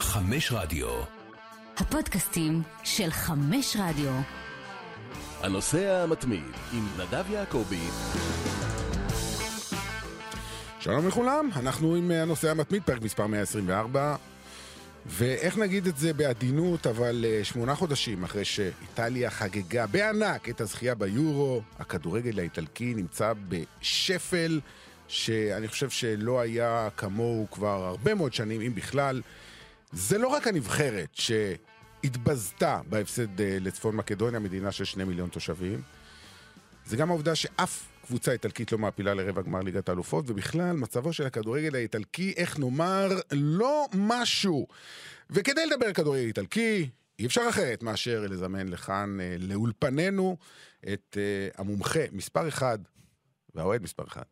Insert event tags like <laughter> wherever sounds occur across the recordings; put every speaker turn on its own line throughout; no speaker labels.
חמש רדיו.
הפודקאסטים של חמש רדיו.
הנוסע המתמיד עם נדב יעקבי.
שלום לכולם, אנחנו עם הנוסע המתמיד, פרק מספר 124, ואיך נגיד את זה בעדינות, אבל אה, שמונה חודשים אחרי שאיטליה חגגה בענק את הזכייה ביורו, הכדורגל האיטלקי נמצא בשפל שאני חושב שלא היה כמוהו כבר הרבה מאוד שנים, אם בכלל. זה לא רק הנבחרת שהתבזתה בהפסד אה, לצפון מקדוניה, מדינה של שני מיליון תושבים, זה גם העובדה שאף קבוצה איטלקית לא מעפילה לרבע גמר ליגת האלופות, ובכלל, מצבו של הכדורגל האיטלקי, איך נאמר, לא משהו. וכדי לדבר על כדורגל איטלקי, אי אפשר אחרת מאשר לזמן לכאן, אה, לאולפנינו, את אה, המומחה מספר אחד, והאוהד מספר אחד.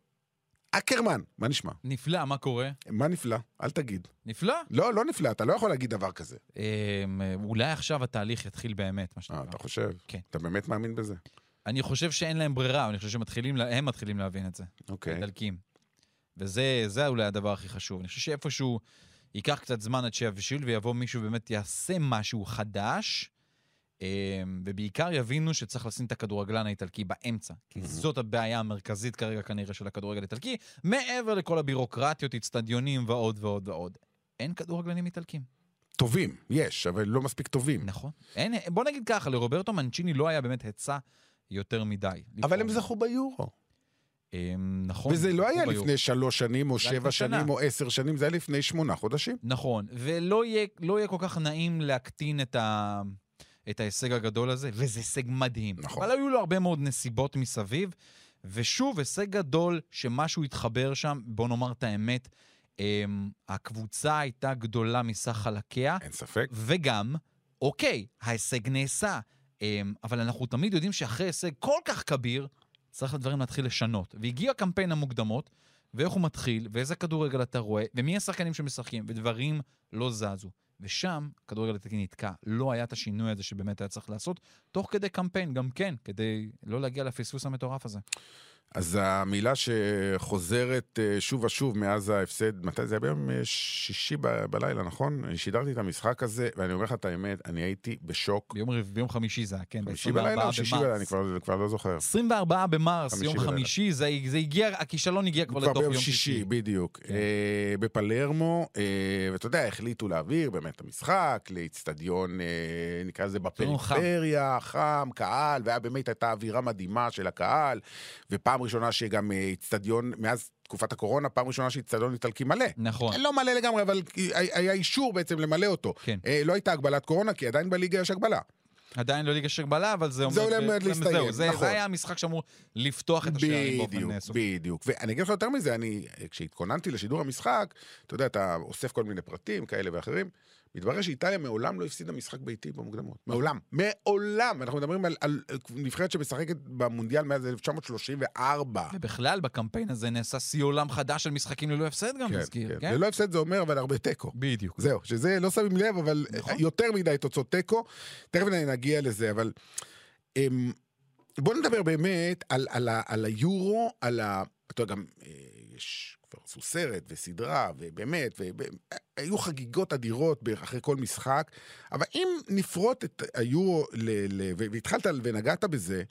אקרמן, מה נשמע?
נפלא, מה קורה?
מה נפלא? אל תגיד.
נפלא.
לא, לא נפלא, אתה לא יכול להגיד דבר כזה.
אמ, אולי עכשיו התהליך יתחיל באמת, מה
אה,
שנקרא.
אתה חושב?
כן.
אתה באמת מאמין בזה?
אני חושב שאין להם ברירה, אני חושב שהם מתחילים, לה- הם מתחילים להבין את זה.
אוקיי.
דלקים. וזה זה אולי הדבר הכי חשוב. אני חושב שאיפשהו ייקח קצת זמן עד שיבשיל ויבוא מישהו באמת יעשה משהו חדש, אמ, ובעיקר יבינו שצריך לשים את הכדורגלן האיטלקי באמצע. כי זאת הבעיה המרכזית כרגע כנראה של הכדורגל האיטלקי, מעבר לכל הבירוקרטיות, אצטדיונים ועוד ועוד ועוד. אין כדורגלנים איטלקים.
טובים, יש, אבל לא מספיק טובים.
נכון. אין, בוא נגיד ככה, לרוברטו מנצ'יני לא היה באמת היצע יותר מדי.
אבל הם
לפעול.
זכו ביורו.
אמ, נכון.
וזה לא היה
ביורו.
לפני שלוש שנים, או
זה היה
שבע
לפני שנה.
שנים, או עשר שנים, זה היה לפני שמונה חודשים.
נכון, ולא יהיה, לא יהיה כל כך נעים להקטין את, ה, את ההישג הגדול הזה, וזה הישג מדהים.
נכון.
אבל היו לו הרבה מאוד נסיבות מסביב, ושוב, הישג גדול שמשהו התחבר שם, בוא נאמר את האמת, אמ, הקבוצה הייתה גדולה מסך חלקיה,
אין ספק.
וגם, אוקיי, ההישג נעשה, אמ, אבל אנחנו תמיד יודעים שאחרי הישג כל כך כביר, צריך לדברים להתחיל לשנות. והגיע קמפיין המוקדמות, ואיך הוא מתחיל, ואיזה כדורגל אתה רואה, ומי השחקנים שמשחקים, ודברים לא זזו. ושם הכדורגל הטקי נתקע, לא היה את השינוי הזה שבאמת היה צריך לעשות, תוך כדי קמפיין, גם כן, כדי לא להגיע לפספוס המטורף הזה.
אז המילה שחוזרת אה, שוב ושוב מאז ההפסד, מתי זה היה ביום אה, שישי ב- בלילה, נכון? אני שידרתי את המשחק הזה, ואני אומר לך את האמת, אני הייתי בשוק.
ביום, רב- ביום חמישי זה היה, כן,
שישי
ב- 24
בלילה או שישי בלילה, אני
במרץ.
כבר- כבר לא זוכר.
24 במרס,
חמישי
יום
בלילה.
חמישי, זה, זה הגיע, הכישלון הגיע כבר
כבר
לתוך
ביום
יום כן.
שישי, בדיוק. אה, בפלרמו, אה, ואתה יודע, החליטו להעביר באמת את המשחק לאיצטדיון, אה, נקרא לזה
אצטדיון לא חם.
בפריפריה, חם, קהל, והיה באמת הייתה אווירה מדהימה של הקהל, ופעם ראשונה שגם אה, איצטדיון, מאז תקופת הקורונה, פעם ראשונה שאיצטדיון איטלקי מלא.
נכון.
לא מלא לגמרי, אבל היה אישור בעצם למלא אותו.
כן.
אה, לא הייתה הגבלת קורונה, כי עדיין בליגה יש הגבלה.
עדיין לא ליגה שגבלה, אבל זה אומר...
זה עולה מאוד
זהו,
להסתיים,
זה-
נכון.
זה היה המשחק שאמור לפתוח את השערים באופן
בדיוק,
סופי.
בדיוק. ואני אגיד לך יותר מזה, אני, כשהתכוננתי לשידור המשחק, אתה יודע, אתה אוסף כל מיני פרטים כאלה ואחרים, מתברר שאיטליה מעולם לא הפסידה משחק ביתי במוקדמות. מעולם. מעולם. אנחנו מדברים על, על נבחרת שמשחקת במונדיאל מאז 1934.
ובכלל, בקמפיין הזה נעשה שיא עולם חדש של משחקים ללא הפסד גם, נזכיר. כן?
ללא הפסד זה לא- אומר, אבל הרבה תיקו.
בדיוק.
זהו, שזה לא שמים לב, אבל
נכון.
יותר מדי תוצאות תיקו. תכף נ- נגיע לזה, אבל... אמ, בוא נדבר באמת על, על, ה- על היורו, על ה... אתה יודע, גם אה, יש כבר עשו סרט וסדרה, ובאמת, וב- אה, היו חגיגות אדירות בערך אחרי כל משחק, אבל אם נפרוט את היורו, ל, ל, ו- והתחלת על- ונגעת בזה,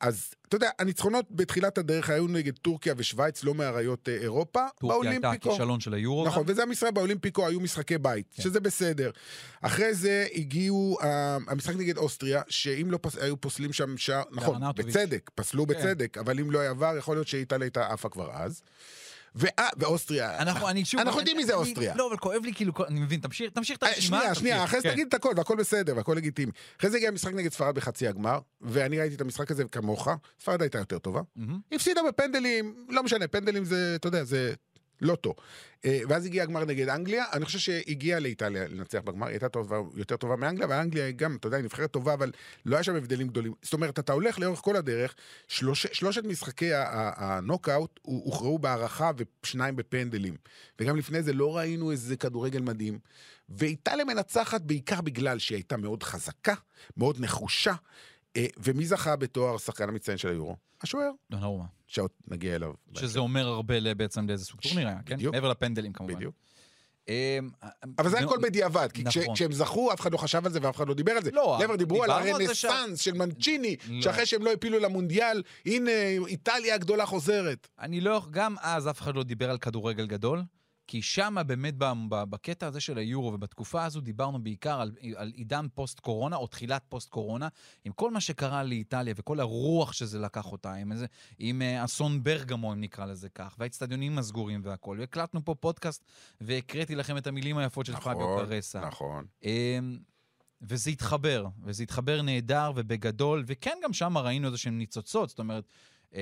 אז אתה יודע, הניצחונות בתחילת הדרך היו נגד טורקיה ושווייץ, לא מאריות אה, אירופה,
טורקיה הייתה
באולימפיקו.
הכישלון של היורו.
נכון,
גם.
וזה המשחק באולימפיקו, היו משחקי בית,
כן.
שזה בסדר. אחרי זה הגיעו, אה, המשחק נגד אוסטריה, שאם לא פס- היו פוסלים שם שער, נכון,
ארנאוטוביץ'.
בצדק, פסלו
כן.
בצדק, אבל אם לא היה עבר, יכול להיות שאיטליה הייתה עפה כבר אז. ואה, ואוסטריה,
אנחנו, אני שוב...
אנחנו יודעים מי זה
אני-
אוסטריה.
לא, אבל כואב לי כאילו, כל- אני מבין, תמשיך, תמשיך את
אה,
הרשימה.
שנייה, שנייה,
תמשיך,
אחרי זה
כן.
תגיד את הכל, והכל בסדר, והכל לגיטימי. אחרי זה הגיע המשחק נגד ספרד בחצי הגמר, ואני ראיתי את המשחק הזה כמוך, ספרד הייתה יותר טובה.
מהמם.
הפסידה בפנדלים, לא משנה, פנדלים זה, אתה יודע, זה לוטו. אה, ואז הגיע הגמר נגד אנגליה, אני חושב שהגיעה לאיטליה לנצח בגמר, היא הייתה טובה, יותר טובה מאנגליה, אבל אנגליה היא גם, אתה יודע, היא נבחרת טובה, אבל לא היה שם הבדלים גדולים. זאת אומרת, אתה הולך לאורך כל הדרך, שלוש, שלושת משחקי ה- ה- הנוקאוט ה- הוכרעו בהערכה ושניים בפנדלים. וגם לפני זה לא ראינו איזה כדורגל מדהים. ואיטליה מנצחת בעיקר בגלל שהיא הייתה מאוד חזקה, מאוד נחושה. אה, ומי זכה בתואר שחקן המצטיין של היורו? השוער.
דונרומה.
שעוד נגיע אליו.
שזה אומר הרבה ל- בעצם לאיזה סוג טורניר היה, כן?
בדיוק.
מעבר לפנדלים כמובן.
בדיוק.
אמ,
אבל זה
נו,
הכל בדיעבד, כי כש-
נכון.
כשהם זכו, אף אחד לא חשב על זה ואף אחד לא דיבר על זה.
לא,
לבר דיברו על
דיברנו על זה ש-
הרנסאנס של מנצ'יני,
לא.
שאחרי שהם לא הפילו למונדיאל, הנה, איטליה הגדולה חוזרת.
אני לא, גם אז אף אחד לא דיבר על כדורגל גדול, כי שם באמת ב- ב- בקטע הזה של היורו ובתקופה הזו דיברנו בעיקר על, על עידן פוסט-קורונה או תחילת פוסט-קורונה, עם כל מה שקרה לאיטליה וכל הרוח שזה לקח אותה, עם, איזה, עם אה, אסון ברגמו, אם נקרא לזה כך, והאצטדיונים הסגורים והכול. הקלטנו פה פודקאסט והקראתי לכם את המילים היפות של פאביו קרסה.
נכון.
אמ, וזה התחבר, וזה התחבר נהדר ובגדול, וכן, גם שם ראינו איזה שהם ניצוצות, זאת אומרת, אמ,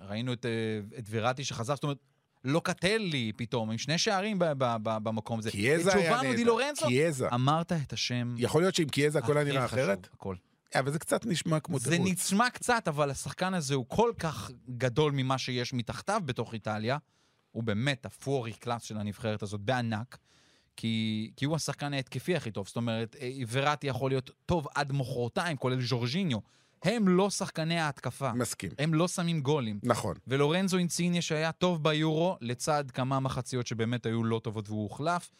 ראינו את, אה, את וראטי שחזר, זאת אומרת, לוקטלי פתאום, עם שני שערים ב- ב- ב- במקום הזה.
קיאזה היה
את ג'ובאנו די לורנצו,
נהדר. קיאזה.
אמרת את השם
יכול להיות שעם קיאזה הכל היה
הכי
נראה
חשוב,
אחרת? אה,
הכל.
אבל זה קצת נשמע כמו
זה
תירוץ.
נצמע קצת, אבל השחקן הזה הוא כל כך גדול ממה שיש מתחתיו בתוך איטליה. הוא באמת הפורי קלאס של הנבחרת הזאת, בענק. כי, כי הוא השחקן ההתקפי הכי טוב. זאת אומרת, אה, וראטי יכול להיות טוב עד מחרתיים, כולל ז'ורג'יניו. הם לא שחקני ההתקפה.
מסכים.
הם לא שמים גולים.
נכון.
ולורנזו אינציניה שהיה טוב ביורו, לצד כמה מחציות שבאמת היו לא טובות והוא הוחלף.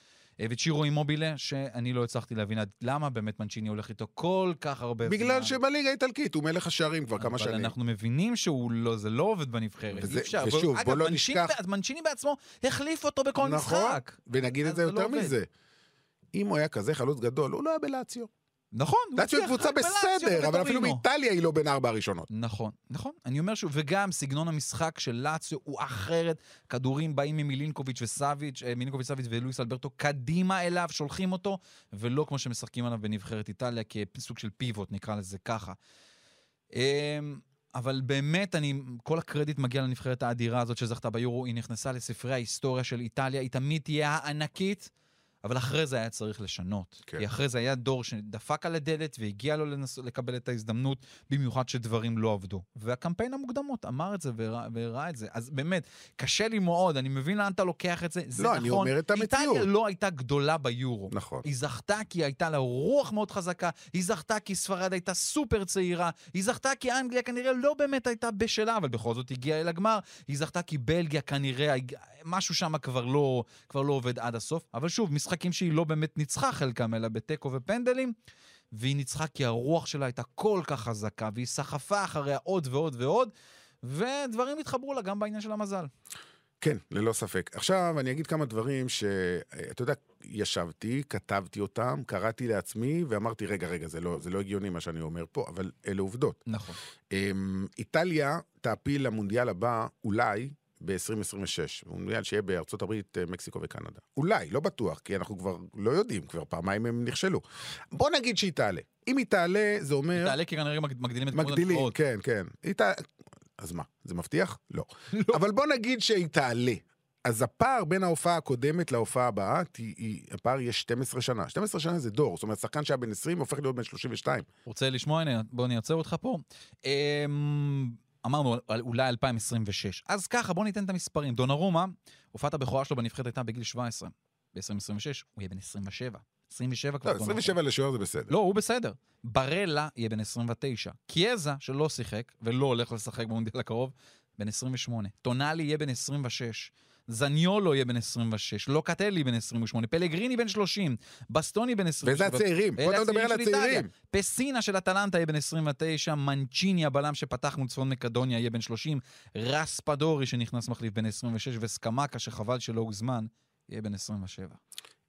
אה, וצ'ירו אימובילה, שאני לא הצלחתי להבין עד למה באמת מנצ'יני הולך איתו כל כך הרבה
בגלל שבליגה האיטלקית הוא מלך השערים כבר כמה
אבל
שנים.
אנחנו מבינים שהוא לא, זה לא עובד בנבחרת.
וזה-
אי אפשר.
ושוב,
אגב,
בוא לא
מנצ'יני
נשכח- נכון.
בע- מנצ'יני בעצמו החליף אותו בכל משחק.
ונגיד את
אז
זה
זה לא
יותר
עובד.
מזה. אם הוא היה כזה חלוץ גדול, הוא לא היה בלאציו.
נכון. הוא
לאציו היא
הצליח
קבוצה
רק בלאציו
בסדר, אבל אפילו
ובטורינו.
באיטליה היא לא בין ארבע הראשונות.
נכון, נכון. אני אומר שוב, וגם סגנון המשחק של לאציו הוא אחרת. כדורים באים ממילינקוביץ' וסאביץ', אה, מילינקוביץ' סאביץ' ולואיס אלברטו קדימה אליו, שולחים אותו, ולא כמו שמשחקים עליו בנבחרת איטליה, כסוג של פיבוט, נקרא לזה ככה. אמ, אבל באמת, אני, כל הקרדיט מגיע לנבחרת האדירה הזאת שזכתה ביורו, היא נכנסה לספרי ההיסטוריה של איטליה, היא תמיד תהיה הענקית, אבל אחרי זה היה צריך לשנות.
כן.
כן. כי אחרי זה היה דור שדפק על הדלת והגיע לו לנס... לקבל את ההזדמנות, במיוחד שדברים לא עבדו. והקמפיין המוקדמות אמר את זה והראה, והראה את זה. אז באמת, קשה לי מאוד, אני מבין לאן אתה לוקח את זה, זה
לא,
נכון.
אני אומר את המציאות.
איטליה לא הייתה גדולה ביורו.
נכון.
היא זכתה כי הייתה לה רוח מאוד חזקה, היא זכתה כי ספרד הייתה סופר צעירה, היא זכתה כי אנגליה כנראה לא באמת הייתה בשלה, אבל בכל זאת הגיעה אל הגמר, היא זכתה כי בלגיה כנראה, משהו שם כבר לא, כבר לא עובד עד הסוף. אבל שוב, משחקים שהיא לא באמת ניצחה חלקם, אלא בתיקו ופנדלים, והיא ניצחה כי הרוח שלה הייתה כל כך חזקה, והיא סחפה אחריה עוד ועוד ועוד, ודברים התחברו לה גם בעניין של המזל.
כן, ללא ספק. עכשיו, אני אגיד כמה דברים ש... אה, אתה יודע, ישבתי, כתבתי אותם, קראתי לעצמי, ואמרתי, רגע, רגע, זה לא, זה לא הגיוני מה שאני אומר פה, אבל אלה עובדות.
נכון.
אמ, איטליה תעפיל למונדיאל הבא, אולי, ב-2026. מונדיאל שיהיה בארצות הברית, אה, מקסיקו וקנדה. אולי, לא בטוח, כי אנחנו כבר לא יודעים, כבר פעמיים הם נכשלו. בוא נגיד שהיא תעלה. אם היא תעלה, זה אומר...
תעלה כי כנראה מגד- מגדילים את כמות
מגדילים,
התחרות.
כן, כן. היא תע... אז מה, זה מבטיח? לא. אבל בוא נגיד שהיא תעלה. אז הפער בין ההופעה הקודמת להופעה הבאה, תה- היא- הפער יהיה 12 שנה. 12 שנה זה דור, זאת אומרת, שחקן שהיה בן 20 הופך להיות בן 32.
רוצה לשמוע? הנה, בוא אני אעצר אותך פה. אמ, אמרנו, על- אולי 2026. אז ככה, בוא ניתן את המספרים. דונרומה, הופעת הבכורה שלו בנבחרת הייתה בגיל 17. ב-2026 הוא יהיה בן 27. 27 כבר.
לא,
דונרומה.
27 לשוער זה בסדר.
לא, הוא בסדר. ברלה יהיה בן 29. קיאזה, שלא שיחק ולא הולך לשחק במונדיאל הקרוב, בן 28. טונאלי יהיה בן 26. זניולו יהיה בן 26. לוקטלי בן 28. פלגריני בן 30. בסטוני בן 27.
וזה הצעירים, פה
אלה
אתה מדבר על
הצעירים של איטליה.
הצעירים.
פסינה של אטלנטה יהיה בן 29, מנצ'יני הבלם שפתח מול צפון מקדוניה יהיה בן 30, רספדורי שנכנס מחליף בן 26, וסקמקה שחבל שלא הוזמן, יהיה בן 27.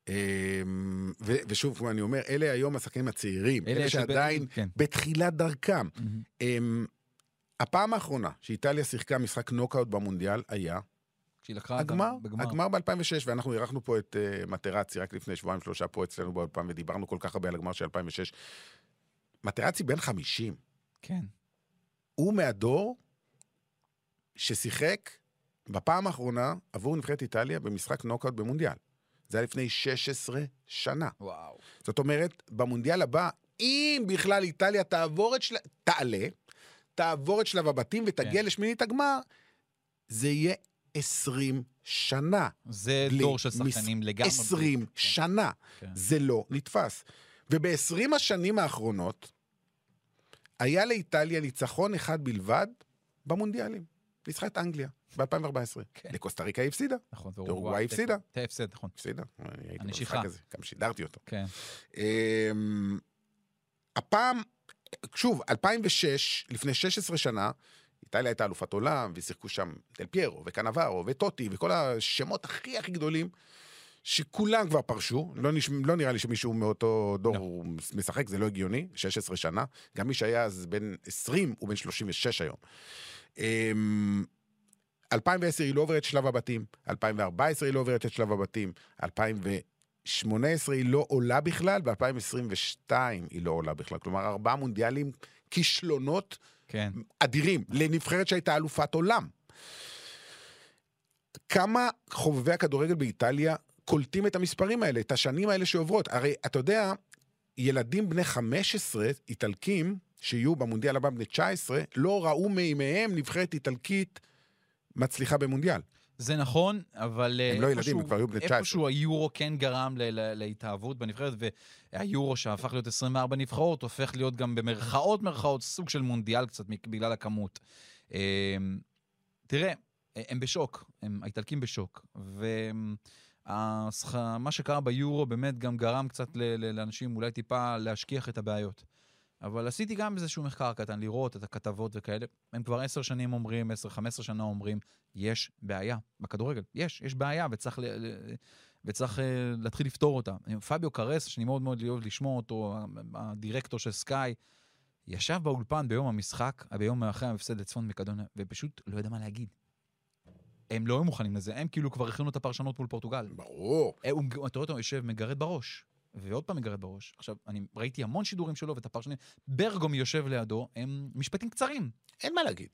אמ, ו- ושוב, כמו אני אומר, אלה היום השחקנים הצעירים, אלה
שבין-
שעדיין
כן.
בתחילת דרכם. אמ, הפעם האחרונה שאיטליה שיחקה משחק נוקאוט במונדיאל היה
כשהיא לקחה את
הגמר,
בגמר.
הגמר ב-2006, ואנחנו אירחנו פה את uh, מטרצי רק לפני שבועיים שלושה פה אצלנו באולפן, ודיברנו כל כך הרבה על הגמר של 2006. מטרצי בן 50,
כן.
הוא מהדור ששיחק בפעם האחרונה עבור נבחרת איטליה במשחק נוקאוט במונדיאל. זה היה לפני 16 שנה.
וואו.
זאת אומרת, במונדיאל הבא, אם בכלל איטליה תעבור את של... תעלה, תעבור את שלב הבתים ותגיע
כן.
לשמינית הגמר, זה יהיה 20 שנה.
זה
בלי
דור של שחקנים
מס-
לגמרי.
20
בלי-
שנה.
כן.
זה לא נתפס. וב-20 השנים האחרונות, היה לאיטליה ניצחון אחד בלבד במונדיאלים. ניצחה את אנגליה. ב-2014.
כן.
לקוסטה ריקה היא הפסידה.
נכון,
אורוגוואי הפסידה.
תהיה הפסד, נכון.
הפסידה. אני הייתי
אני
במשחק
שיחה.
הזה, גם שידרתי אותו.
כן.
אמ, הפעם, שוב, 2006, לפני 16 שנה, איטליה הייתה אלופת עולם, ושיחקו שם דל פיירו, וקנברו, וטוטי, וכל השמות הכי הכי גדולים, שכולם כבר פרשו. לא, נש... לא נראה לי שמישהו מאותו דור
לא.
לא. משחק, זה לא הגיוני, 16 שנה. גם מי שהיה אז בן 20, הוא בן 36 היום. אמ, 2010 היא לא עוברת שלב הבתים, 2014 היא לא עוברת את שלב הבתים, 2018 היא לא עולה בכלל, ב-2022 היא לא עולה בכלל. כלומר, ארבעה מונדיאלים, כישלונות
כן.
אדירים לנבחרת שהייתה אלופת עולם. כמה חובבי הכדורגל באיטליה קולטים את המספרים האלה, את השנים האלה שעוברות? הרי אתה יודע, ילדים בני 15 איטלקים, שיהיו במונדיאל הבא בני 19, לא ראו מימיהם נבחרת איטלקית מצליחה במונדיאל.
זה נכון, אבל... אה,
הם לא ילדים,
איפשהו-
הם כבר היו בני 19.
איפשהו היורו כן גרם ל- ל- להתאהבות בנבחרת, והיורו שהפך להיות 24 נבחרות, הופך להיות גם במרכאות מרכאות סוג של מונדיאל קצת מק- בגלל הכמות. אמ, תראה, הם בשוק, הם, האיטלקים בשוק, ומה שקרה ביורו באמת גם גרם קצת ל- ל- לאנשים אולי טיפה להשכיח את הבעיות. אבל עשיתי גם איזשהו מחקר קטן, לראות את הכתבות וכאלה. הם כבר עשר שנים אומרים, עשר, חמש עשרה שנה אומרים, יש בעיה בכדורגל. יש, יש בעיה, וצריך, ל- ל- וצריך אה, להתחיל לפתור אותה. פביו קרס, שאני מאוד מאוד אוהב לשמוע אותו, הדירקטור של סקאי, ישב באולפן ביום המשחק, אה, ביום אחרי ההפסד לצפון מקדוניה, ופשוט לא ידע מה להגיד. הם לא היו מוכנים לזה, הם כאילו כבר הכינו את הפרשנות מול פורטוגל.
ברור.
אה, הוא, אתה רואה אותו יושב, מגרד בראש, ועוד פעם מגרד בראש. עכשיו, אני ראיתי המון שידורים שלו ואת הפרשנים. ברגום יושב לידו, הם משפטים קצרים.
אין מה להגיד.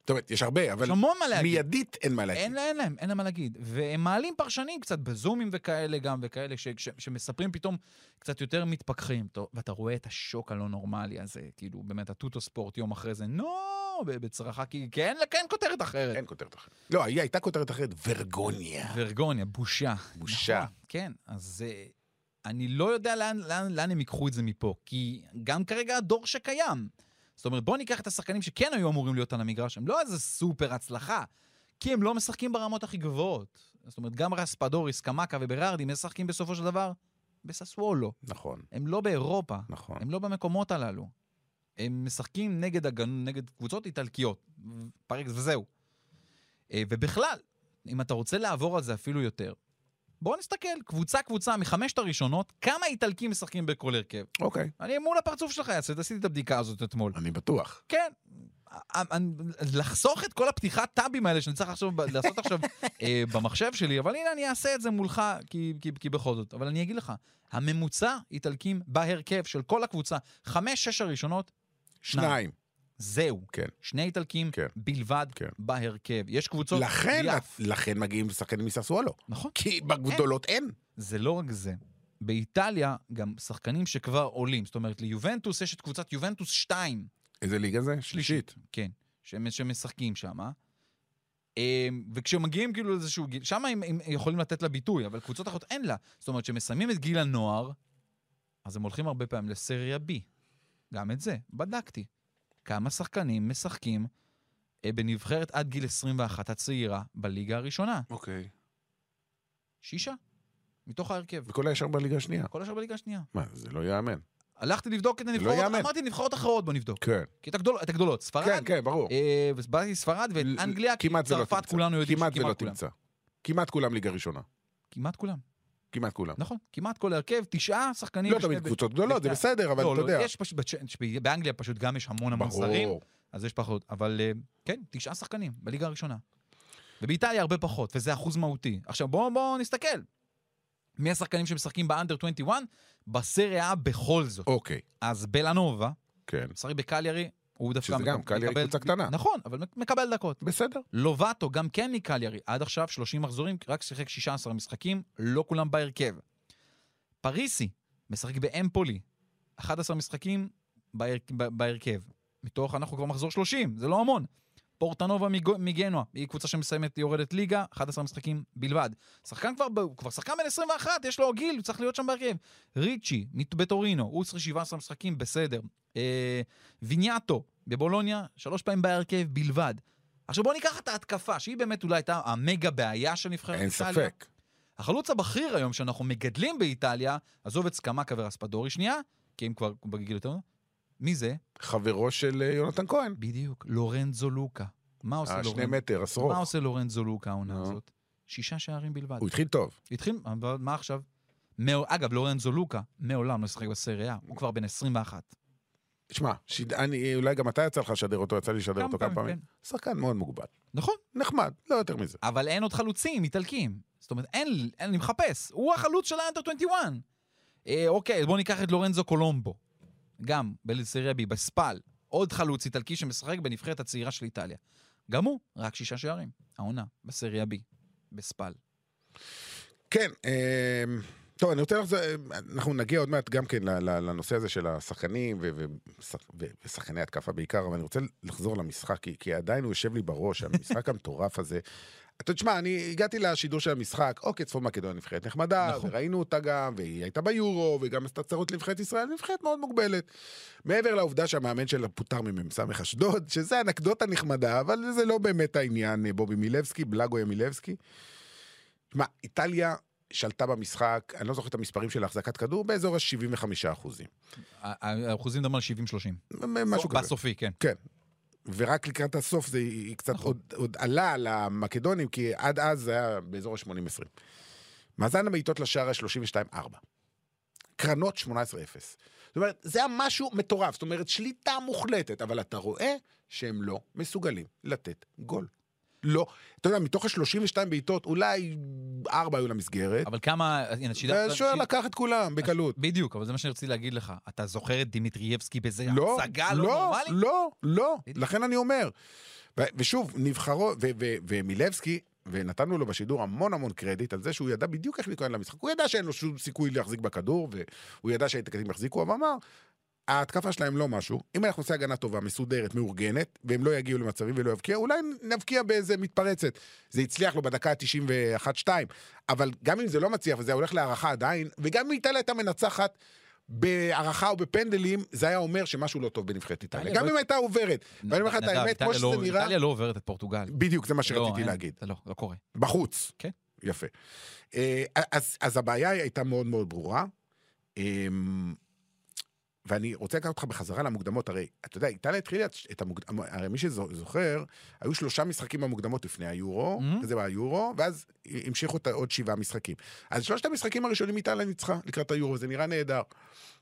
זאת אומרת, יש הרבה, אבל
יש המון מה להגיד.
מיידית אין מה להגיד.
אין, לה- אין להם, אין להם מה להגיד. והם מעלים פרשנים קצת בזומים וכאלה גם, וכאלה ש, ש, שמספרים פתאום קצת יותר מתפכחים. טוב, ואתה רואה את השוק הלא נורמלי הזה, כאילו, באמת, הטוטו ספורט יום אחרי זה, נו, ב- בצרחה, כי כי אין, כי אין כותרת אחרת.
אין כותרת אחרת. לא, היא הייתה כותרת אחרת, ורגוניה.
ורגוניה, בושה.
בושה.
נכון, כן, אז אה, אני לא יודע לאן, לאן, לאן הם ייקחו את זה מפה, כי גם כרגע הדור שקיים. זאת אומרת, בואו ניקח את השחקנים שכן היו אמורים להיות על המגרש, הם לא איזה סופר הצלחה, כי הם לא משחקים ברמות הכי גבוהות. זאת אומרת, גם רספדוריס, קמקה וברארדי משחקים בסופו של דבר בססוולו.
נכון,
הם לא באירופה,
נכון.
הם לא במקומות הללו. הם משחקים נגד, הגנ... נגד קבוצות איטלקיות, פרקס וזהו. אה, ובכלל, אם אתה רוצה לעבור על זה אפילו יותר, בואו נסתכל, קבוצה-קבוצה מחמשת הראשונות, כמה איטלקים משחקים בכל הרכב.
אוקיי.
אני מול הפרצוף שלך אעשה, את זה, עשיתי את הבדיקה הזאת אתמול.
אני בטוח.
כן. א- א- לחסוך את כל הפתיחת טאבים האלה שאני צריך עכשיו, ב- לעשות עכשיו אה, במחשב שלי, אבל הנה אני אעשה את זה מולך, כי, כי, כי בכל זאת. אבל אני אגיד לך, הממוצע איטלקים בהרכב של כל הקבוצה, חמש, שש הראשונות,
שניים.
זהו.
כן.
שני איטלקים
כן.
בלבד
כן.
בהרכב. יש קבוצות...
לכן,
יפ.
לכן מגיעים שחקנים מססוולו.
נכון.
כי בגדולות אין.
זה לא רק זה. באיטליה גם שחקנים שכבר עולים. זאת אומרת, ליובנטוס יש את קבוצת יובנטוס 2.
איזה ליגה זה?
כן, שהם, שמשחקים שם. וכשמגיעים כאילו לאיזשהו גיל, שם הם, הם יכולים לתת לה ביטוי, אבל קבוצות אחרות אין לה. זאת אומרת, כשמסיימים את גיל הנוער, אז הם הולכים הרבה פעמים לסריה B. גם את זה, בדקתי. כמה שחקנים משחקים אה, בנבחרת עד גיל 21 הצעירה בליגה הראשונה?
אוקיי.
שישה, מתוך ההרכב.
וכל הישר בליגה השנייה.
כל השאר בליגה השנייה.
מה, זה לא ייאמן.
הלכתי לבדוק את הנבחרות,
לא ייאמן.
אמרתי נבחרות אחרות, בוא נבדוק.
כן.
כי את הגדולות, את הגדולות, ספרד,
כן, כן, ברור.
אה, באתי לספרד ואת אה, אנגליה,
כמעט ולא
צרפת
תמצא.
כולנו יודעים
כמעט
שכמעט
ולא
כולם.
תמצא. כמעט כולם ליגה ראשונה.
כמעט כולם,
כמעט כולם.
נכון. כמעט כל הרכב, תשעה שחקנים.
לא
ושני
תמיד
ב-
קבוצות גדולות, זה
בשתי-
בסדר, אבל
לא,
אתה
לא,
יודע.
יש פשוט, בצ'- ב- באנגליה פשוט גם יש המון המון זרים,
ברור.
אז יש פחות. אבל אה, כן, תשעה שחקנים בליגה הראשונה. ובאיטליה הרבה פחות, וזה אחוז מהותי. עכשיו בואו בוא נסתכל. מי השחקנים שמשחקים באנדר 21? בסריה A בכל זאת.
אוקיי,
אז בלנובה,
כן.
משחק בקליירי, הוא דווקא...
שזה גם,
מקב-
קליירי
מקבל-
קבוצה קטנה.
נכון, אבל מקבל דקות.
בסדר.
לובטו, גם כן מקליירי, עד עכשיו 30 מחזורים, רק שיחק 16 משחקים, לא כולם בהרכב. פריסי, משחק באמפולי, 11 משחקים בהר... ב- בהרכב. מתוך, אנחנו כבר מחזור 30, זה לא המון. פורטנובה מגו- מגנוע, היא קבוצה שמסיימת, יורדת ליגה, 11 משחקים בלבד. שחקן כבר, ב- הוא כבר שחקן בן 21, יש לו גיל, הוא צריך להיות שם בהרכב. ריצ'י, מת- בטורינו, הוא צריך 17 משחקים, בסדר. אה, ויניאטו, בבולוניה, שלוש פעמים בהרכב בלבד. עכשיו בואו ניקח את ההתקפה, שהיא באמת אולי הייתה המגה בעיה של נבחרת
אין
איטליה.
ספק.
החלוץ הבכיר היום שאנחנו מגדלים באיטליה, עזוב את סקמקה ורספדורי שנייה, כי הם כבר בגיל יותר... מי זה?
חברו של אה, יונתן כהן.
בדיוק, לורנזו לוקה. מה עושה
השני
לורנזו?
אה, מטר, עשרות.
מה עושה לורנזו לוקה העונה
נו.
הזאת? שישה שערים בלבד.
הוא התחיל טוב.
התחיל, אבל מה עכשיו? מעו- אגב, לורנזו לוקה מעולם לא שיחק בסריה, הוא כבר בן 21.
שמע, שיד- אני- אולי גם אתה יצא לך לשדר אותו, יצא לי לשדר
כמה
אותו כמה
פעמים,
פעמים.
כן.
שחקן מאוד מוגבל.
נכון,
נחמד, לא יותר מזה.
אבל אין עוד חלוצים איטלקים. זאת אומרת, אין, אין, אני מחפש. הוא החלוץ של האנטר 21. אה, אוקיי, בואו ניקח את לורנזו קולומבו. גם בליסריה בי, בספל. עוד חלוץ איטלקי שמשחק בנבחרת הצעירה של איטליה. גם הוא, רק שישה שערים. העונה, בסריה בי, בספל.
כן, אה, טוב, אני רוצה לחזור, אה, אנחנו נגיע עוד מעט גם כן ל- ל- לנושא הזה של השחקנים ו- ו- שח- ו- ושחקני התקפה בעיקר, אבל אני רוצה לחזור למשחק, כי, כי עדיין הוא יושב לי בראש, המשחק <laughs> המטורף הזה. אתה תשמע, אני הגעתי לשידור של המשחק, אוקיי, צפון מקדוניה נבחרת נחמדה,
נכון.
נכון. וראינו אותה גם, והיא הייתה ביורו, וגם עשתה צרות לנבחרת ישראל, נבחרת מאוד מוגבלת. מעבר לעובדה שהמאמן שלה פוטר ממ"ס אשדוד, שזה אנקדוטה נחמדה, אבל זה לא באמת העניין, אה, בובי מילבסקי, בלאגו ימילבסקי. תשמע, איטליה שלטה במשחק, אני לא זוכר את המספרים של החזקת כדור, באזור ה-75 אחוזים.
ה- ה- האחוזים מדברים על 70-30.
משהו כזה.
בסופי, כן.
כן. ורק לקראת הסוף זה היא היא קצת עוד, עוד עלה על המקדונים, כי עד אז זה היה באזור ה-80-20. מאזן הבעיטות לשער ה-32-4. קרנות 18-0. זאת אומרת, זה היה משהו מטורף, זאת אומרת, שליטה מוחלטת, אבל אתה רואה שהם לא מסוגלים לתת גול. לא. אתה יודע, מתוך ה-32 בעיטות, אולי 4 היו למסגרת,
אבל כמה... הנה, שידרת-
והשוער
שיד-
לקח את כולם בקלות.
בדיוק, אבל זה מה שאני רציתי להגיד לך. אתה זוכר את דימיטריאבסקי באיזה
לא,
הצגה לא
לא,
נורמלית?
לא, לא,
בדיוק.
לכן אני אומר. ו- ושוב, נבחרו, ו- ו- ומילבסקי, ונתנו לו בשידור המון המון קרדיט על זה שהוא ידע בדיוק איך להתכונן למשחק. הוא ידע שאין לו שום סיכוי להחזיק בכדור, והוא ידע שהאיטלקים יחזיקו, אבל אמר, ההתקפה שלהם לא משהו. אם אנחנו נעשה הגנה טובה, מסודרת, מאורגנת, והם לא יגיעו למצבים ולא יבקיעו, אולי נבקיע באיזה מתפרצת. זה הצליח לו בדקה ה-91-2, אבל גם אם זה לא מצליח וזה הולך להערכה עדיין, וגם אם איטליה הייתה מנצחת בהערכה או בפנדלים, זה היה אומר שמשהו לא טוב בנבחרת איטליה.
איטליה
גם
לא-
אם הייתה עוברת. ואני אומר לך את
נדב,
האמת, כמו
איטליה
שזה
לא-
נראה,
איטליה לא עוברת את פורטוגל.
בדיוק, זה מה
לא,
שרציתי
אין,
להגיד.
לא, לא קורה.
בחוץ.
כן.
יפה. אה, אז, אז הבעיה הייתה מאוד מאוד ברורה. אה, ואני רוצה לקחת אותך בחזרה למוקדמות, הרי, אתה יודע, איטליה התחילה את- את המוקדמות, הרי מי שזוכר, היו שלושה משחקים במוקדמות לפני היורו,
Mhm.
mm-hmm. זה ביורו, ואז המשיכו את עוד שבעה משחקים. אז שלושת המשחקים הראשונים איטליה ניצחה לקראת היורו, זה נראה נהדר.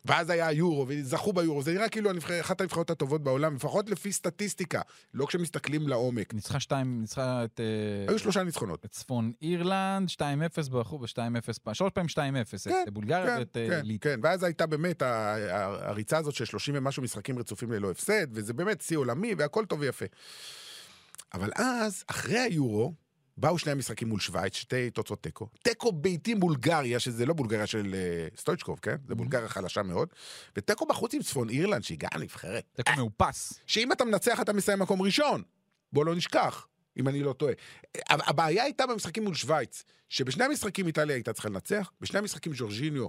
ואז היה היורו, וזכו ביורו, זה נראה כאילו הנבחר- אחת הנבחרות הטובות בעולם, לפחות לפי סטטיסטיקה, לא כשמסתכלים לעומק.
ניצחה שתיים, ניצחה את... אה,
היו שלושה ניצחונות.
את צפון אירלנד, 2-0 ברחוב, ו-2-0, שלוש פעמים 2-0, את בולגריה ואת אה,
כן,
ליטא.
כן, ואז הייתה באמת ה- ה- הריצה הזאת של 30 ומשהו משחקים רצופים ללא הפסד, וזה באמת שיא עולמי והכל טוב ויפה. אבל אז, אחרי היורו, באו שני המשחקים מול שווייץ, שתי תוצאות תיקו. תיקו ביתי בולגריה, שזה לא בולגריה של אה, סטויצ'קוב, כן?
Mm-hmm.
זה בולגריה חלשה מאוד. ותיקו בחוץ עם צפון אירלנד, שהיא גם נבחרת.
תיקו מאופס.
שאם אתה מנצח אתה מסיים מקום ראשון. בוא לא נשכח, אם אני לא טועה. ה- הבעיה הייתה במשחקים מול שווייץ, שבשני המשחקים איטליה הייתה צריכה לנצח, בשני המשחקים ז'ורג'יניו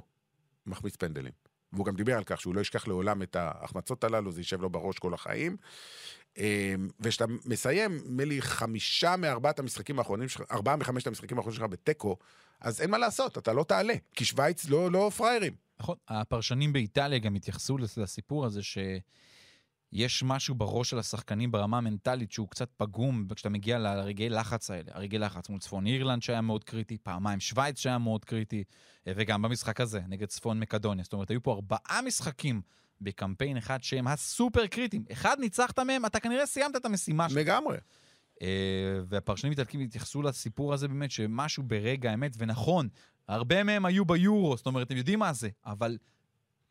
מחמיץ פנדלים. והוא גם דיבר על כך שהוא לא ישכח לעולם את ההחמצות הללו, זה יישב לו בראש כל החיים. אמ, וכשאתה מסיים, נדמה לי, חמישה מארבעת המשחקים האחרונים שלך, ארבעה מחמשת המשחקים האחרונים שלך בתיקו, אז אין מה לעשות, אתה לא תעלה, כי שווייץ לא, לא פראיירים.
נכון, הפרשנים באיטליה גם התייחסו לס- לסיפור הזה ש... יש משהו בראש של השחקנים ברמה המנטלית שהוא קצת פגום כשאתה מגיע לרגעי לחץ האלה. הרגעי לחץ מול צפון אירלנד שהיה מאוד קריטי, פעמיים שווייץ שהיה מאוד קריטי, אה, וגם במשחק הזה נגד צפון מקדוניה. זאת אומרת, היו פה ארבעה משחקים בקמפיין אחד שהם הסופר קריטיים. אחד ניצחת מהם, אתה כנראה סיימת את המשימה שלך.
לגמרי.
אה, והפרשנים האיטלקים התייחסו לסיפור הזה באמת, שמשהו ברגע האמת, ונכון, הרבה מהם היו ביורו, זאת אומרת, אתם יודעים מה זה, אבל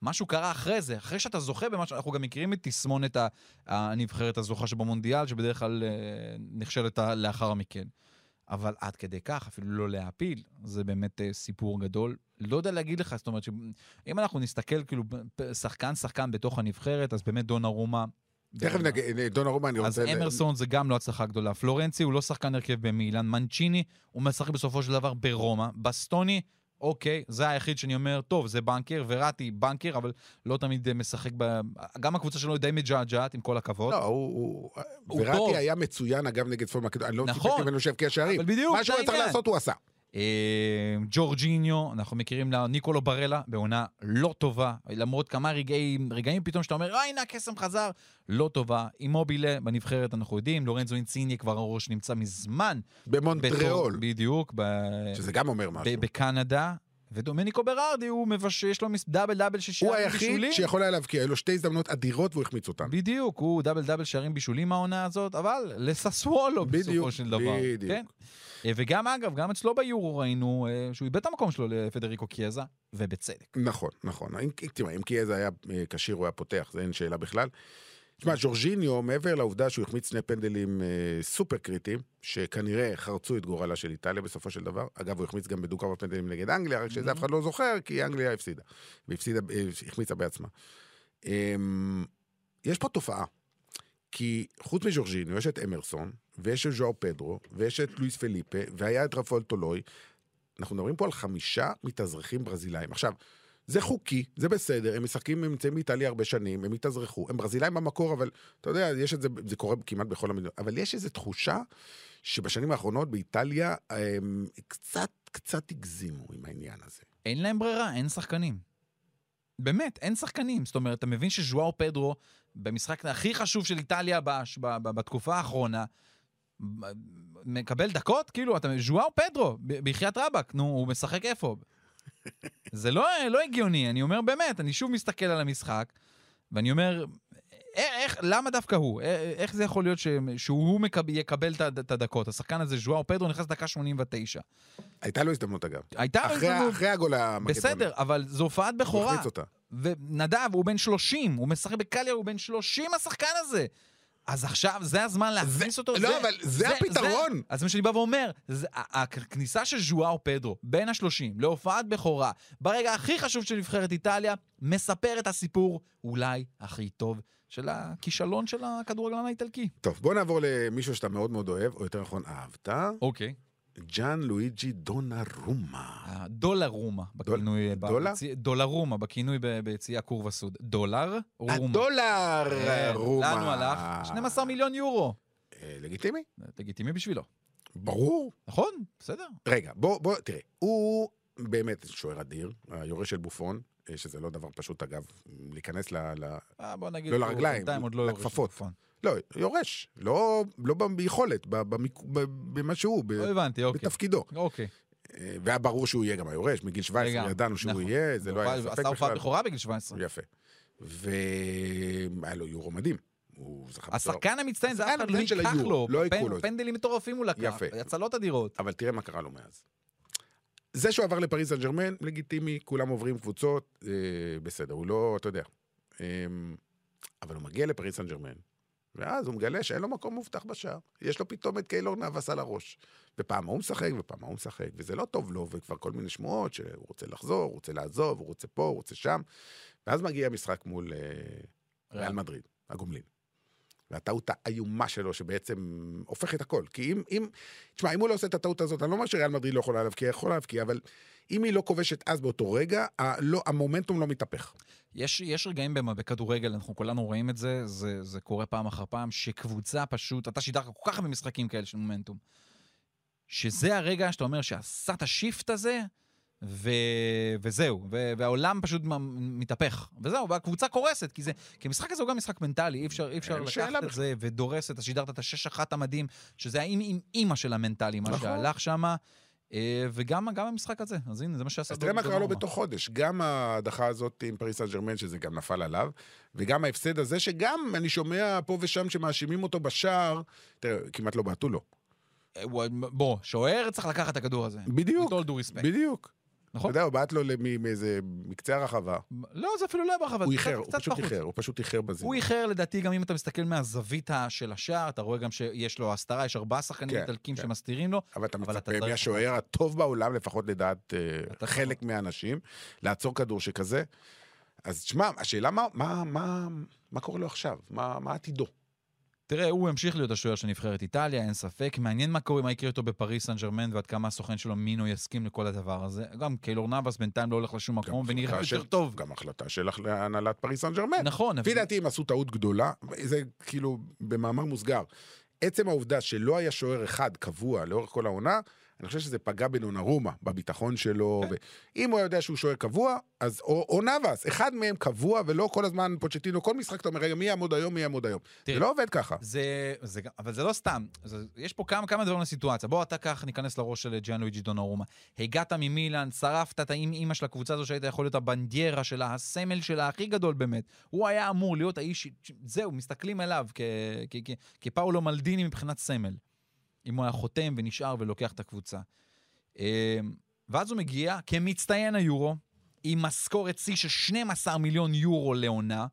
משהו קרה אחרי זה, אחרי שאתה זוכה במשהו, אנחנו גם מכירים את תסמונת ה- הנבחרת הזוכה שבמונדיאל, שבדרך כלל אה, נכשלת ה- לאחר מכן. אבל עד כדי כך, אפילו לא להעפיל, זה באמת אה, סיפור גדול. לא יודע להגיד לך, זאת אומרת, שאם אנחנו נסתכל כאילו שחקן-שחקן בתוך הנבחרת, אז באמת דונה רומה...
תכף נגיד, דונה רומה, אני
אז
רוצה... ל-
אמרסון זה גם לא הצלחה גדולה. פלורנצי הוא לא שחקן הרכב במילאן, מנצ'יני הוא משחק בסופו של דבר ברומא, בסטוני, אוקיי, זה היחיד שאני אומר, טוב, זה בנקר, וראטי בנקר, אבל לא תמיד אה, משחק ב... גם הקבוצה שלו היא די מג'עג'עת, עם כל הכבוד.
לא, הוא... הוא
נכון. הוא טוב.
וראטי היה מצוין, אגב, נגד צפון מקדוניה. אני לא
נכון.
ציפיתי ממנו שיבקיע שערים.
אבל בדיוק,
מה שהוא
זה
היה צריך
העניין.
לעשות, הוא עשה.
אה, ג'ורג'יניו, אנחנו מכירים לה, ניקולו ברלה, בעונה לא טובה, למרות כמה רגעים, רגעים פתאום שאתה אומר, אה, הנה הקסם חזר, לא טובה. אימובילה בנבחרת, אנחנו יודעים, לורנזו אינציני כבר הראש נמצא מזמן. בתור-
במונטריאול,
בדיוק, ב...
שזה גם אומר
ב-
משהו.
בקנדה. ודומניקו ברארדי, הוא מבש... יש לו מס... דאבל דאבל ששישה
הוא היחיד
בישולים.
שיכול היה להבקיע, היו לו שתי הזדמנויות אדירות והוא החמיץ אותן.
בדיוק, הוא דאבל דאבל שערים בישולים העונה הזאת, אבל לססוולו
בדיוק,
בסופו של דבר.
בדיוק.
כן? אה, וגם אגב, גם אצלו ביורו ראינו אה, שהוא איבד את המקום שלו לפדריקו קיאזה, ובצדק.
נכון, נכון. אם- תשמע, אם קיאזה היה אה, כשיר, הוא היה פותח, זה אין שאלה בכלל. תשמע, ג'ורג'יניו, מעבר לעובדה שהוא החמיץ שני פנדלים אה, סופר קריטיים, שכנראה חרצו את גורלה של איטליה בסופו של דבר. אגב, הוא החמיץ גם בדו-קרב הפנדלים נגד אנגליה, רק שזה אף אחד לא זוכר, כי אנגליה הפסידה. והפסידה, אה, החמיצה בעצמה. אמ, יש פה תופעה. כי חוץ מג'ורג'יניו יש את אמרסון, ויש את ז'ואר פדרו, ויש את לואיס פליפה, והיה את רפול טולוי. אנחנו מדברים פה על חמישה מתאזרחים ברזילאים. עכשיו, זה חוקי, זה בסדר, הם משחקים, הם נמצאים באיטליה הרבה שנים, הם התאזרחו, הם ברזילאים במקור, אבל אתה יודע, יש את זה, זה קורה כמעט בכל המדינות, אבל יש איזו תחושה שבשנים האחרונות באיטליה הם קצת, קצת הגזימו עם העניין הזה.
אין להם ברירה, אין שחקנים. באמת, אין שחקנים. זאת אומרת, אתה מבין שז'ואר פדרו, במשחק הכי חשוב של איטליה בש- ב- ב- בתקופה האחרונה, ב- מקבל דקות? כאילו, אתה ז'ואר פדרו, ב- בחייאת רבאק, נו, הוא משחק איפה? זה לא, לא הגיוני, אני אומר באמת, אני שוב מסתכל על המשחק, ואני אומר, "א- איך, למה דווקא הוא? א- איך זה יכול להיות ש, שהוא מקב, יקבל את הד- את הדקות? השחקן הזה, ז'ואר פדרו, נכנס דקה 89.
הייתה לו הזדמנות אגב.
הייתה לו
אחרי,
הזדמנות.
אחרי הגול המקדוני.
בסדר, אבל זו הופעת
הוא
בכורה.
החמיץ אותה.
ונדב, הוא בן 30, הוא משחק בקליה, הוא בן 30 השחקן הזה. אז עכשיו, זה הזמן להכניס אותו.
לא, אבל זה הפתרון.
אז מה שאני בא ואומר, זה- ה- הכניסה של ז'ואר פדרו, בין ה-30, להופעת בכורה, ברגע הכי חשוב של נבחרת איטליה, מספר את הסיפור אולי הכי טוב של הכישלון של הכדורגלן האיטלקי.
טוב, בוא נעבור למישהו שאתה מאוד מאוד אוהב, או יותר נכון אהבת,
אוקיי.
ג'אן לואיג'י דונרומה.
דולרומה, בכינוי... ב-
דולה?
בצי- דולרומה, בכינוי ב- ביציע קורבה סוד. דולר? רומה.
הדולר
כן,
אה, רומה.
לאן הוא הלך? 12 מיליון יורו.
אה, לגיטימי?
לגיטימי בשבילו.
ברור.
נכון, בסדר.
רגע, בוא, בוא, תראה, הוא באמת שוער אדיר, היורש של בופון, אה, שזה לא דבר פשוט, אגב, להיכנס ל... ל...
אה, בוא נגיד,
לא
הוא
לרגליים,
בינתיים עוד לא יורד
לכפפות.
שוב, נכון.
לא, יורש, לא, לא ב- ביכולת, ב- במיק... ב- במה שהוא, ב...
לא הבנתי, אוקיי.
בתפקידו.
אוקיי.
אה, והיה ברור שהוא יהיה גם היורש, מגיל 17
לגמרי,
ידענו שהוא
נכון.
יהיה, זה לא היה
הוא
ספק
עשה הופעת
בכלל.
בכורה בגיל 17.
יפה. והיה לו יורו מדהים. הוא זכה בתואר.
השחקן המצטיין, זה אף
השחקן
אחד לא
המצטיין של
ייקח
היורו,
לו.
לא
פנ-
ייקחו לו את זה.
פנדלים מטורפים הוא לקח.
יפה.
הצלות אדירות.
אבל תראה מה קרה לו מאז. זה שהוא עבר לפריס סן ג'רמן, לגיטימי, כולם עוברים קבוצות, אה, בסדר, הוא לא, אתה יודע. אה, אבל הוא מגיע לפריס סן ג'רמן, ואז הוא מגלה שאין לו מקום מובטח בשער. יש לו פתאום את קיילור נאבס על הראש. ופעם ההוא משחק, ופעם ההוא משחק, וזה לא טוב לו, וכבר כל מיני שמועות שהוא רוצה לחזור, הוא רוצה לעזוב, הוא רוצה פה, הוא רוצה שם. ואז מגיע משחק מול אה, ריאל מדריד, הגומלין. והטעות האיומה שלו, שבעצם הופכת הכל. כי אם, אם, תשמע, אם הוא לא עושה את הטעות הזאת, אני לא אומר שריאל מדריד לא יכולה להבקיע, יכולה להבקיע, אבל אם היא לא כובשת אז באותו רגע, ה, לא, המומנטום לא מתהפך.
יש, יש רגעים במה- בכדורגל, אנחנו כולנו רואים את זה, זה, זה קורה פעם אחר פעם, שקבוצה פשוט, אתה שידרת כל כך הרבה משחקים כאלה של מומנטום, שזה הרגע שאתה אומר שעשה את השיפט הזה, ו... וזהו, ו... והעולם פשוט מ- מתהפך, וזהו, והקבוצה קורסת, כי זה, כי המשחק הזה הוא גם משחק מנטלי, אי אפשר, אי אפשר
אין שאלה
לקחת את זה, ודורס את השידרת את השש אחת המדהים, שזה האם עם אימא של המנטלי, מה
נכון.
שהלך שמה, אה, וגם גם המשחק הזה, אז הנה, זה מה שעשה
אז תראה מה קרה לו
דונרומה.
בתוך חודש. גם ההדחה הזאת עם פריס סן ג'רמן, שזה גם נפל עליו, וגם ההפסד הזה, שגם אני שומע פה ושם שמאשימים אותו בשער, תראה, כמעט לא בעטו לו.
הוא- בוא, שוער צריך לקחת את הכדור הזה.
בדיוק,
With all due respect,
בדיוק. אתה
נכון?
יודע, הוא בעט לו למי- מאיזה מקצה הרחבה.
לא, זה אפילו לא היה ברחבה.
הוא
זה קצת-
איחר, הוא
קצת
פשוט
פחות.
איחר, הוא פשוט איחר בזה.
הוא איחר, לדעתי, גם אם אתה מסתכל מהזווית ה- של השער, אתה רואה גם שיש לו הסתרה, יש ארבעה שחקנים
כן,
איטלקים
כן.
שמסתירים לו.
אבל אתה
אבל אתה
מצפה
צריך-
מהשוער הטוב בעולם, לפחות לדעת אה,
אתה
חלק מהאנשים, לעצור כדור שכזה. אז תשמע, השאלה מה, מה, מה, מה קורה לו עכשיו? מה, מה עתידו?
תראה, הוא המשיך להיות השוער של נבחרת איטליה, אין ספק. מעניין מה קורה, מה יקרה איתו בפריס סן ג'רמן ועד כמה הסוכן שלו מינו יסכים לכל הדבר הזה. גם קיילור נאבס בינתיים לא הולך לשום מקום ונראה
החלטה
יותר
של-
טוב.
גם החלטה של הח- הנהלת פריס סן ג'רמן.
נכון,
כן. לפי
אבל-
דעתי הם עשו טעות גדולה, זה כאילו במאמר מוסגר. עצם העובדה שלא היה שוער אחד קבוע לאורך כל העונה, אני חושב שזה פגע בנונרומה, בביטחון שלו. ו... אם הוא היה יודע שהוא שוער קבוע, אז או, או נאבס, אחד מהם קבוע ולא כל הזמן פוצ'טינו, כל משחק אתה אומר, רגע, מי יעמוד היום, מי יעמוד היום.
תראה.
זה לא עובד ככה.
זה, זה, גם- אבל זה לא סתם, זה, יש פה כמה, כמה דברים לסיטואציה. בוא אתה כך ניכנס לראש של ג'אן לואיג'י דונרומה. הגעת ממילאן, שרפת את האימא של הקבוצה הזו שהיית יכול להיות הבנדיירה שלה, הסמל שלה הכי גדול באמת. הוא היה אמור להיות האיש, זהו, מסתכלים עליו כ, כ, כ, כפאולו מלדיני מבחינת סמל. אם הוא היה חותם ונשאר ולוקח את הקבוצה. אה, ואז הוא מגיע כמצטיין היורו, עם משכורת שיא של 12 מיליון יורו לעונה,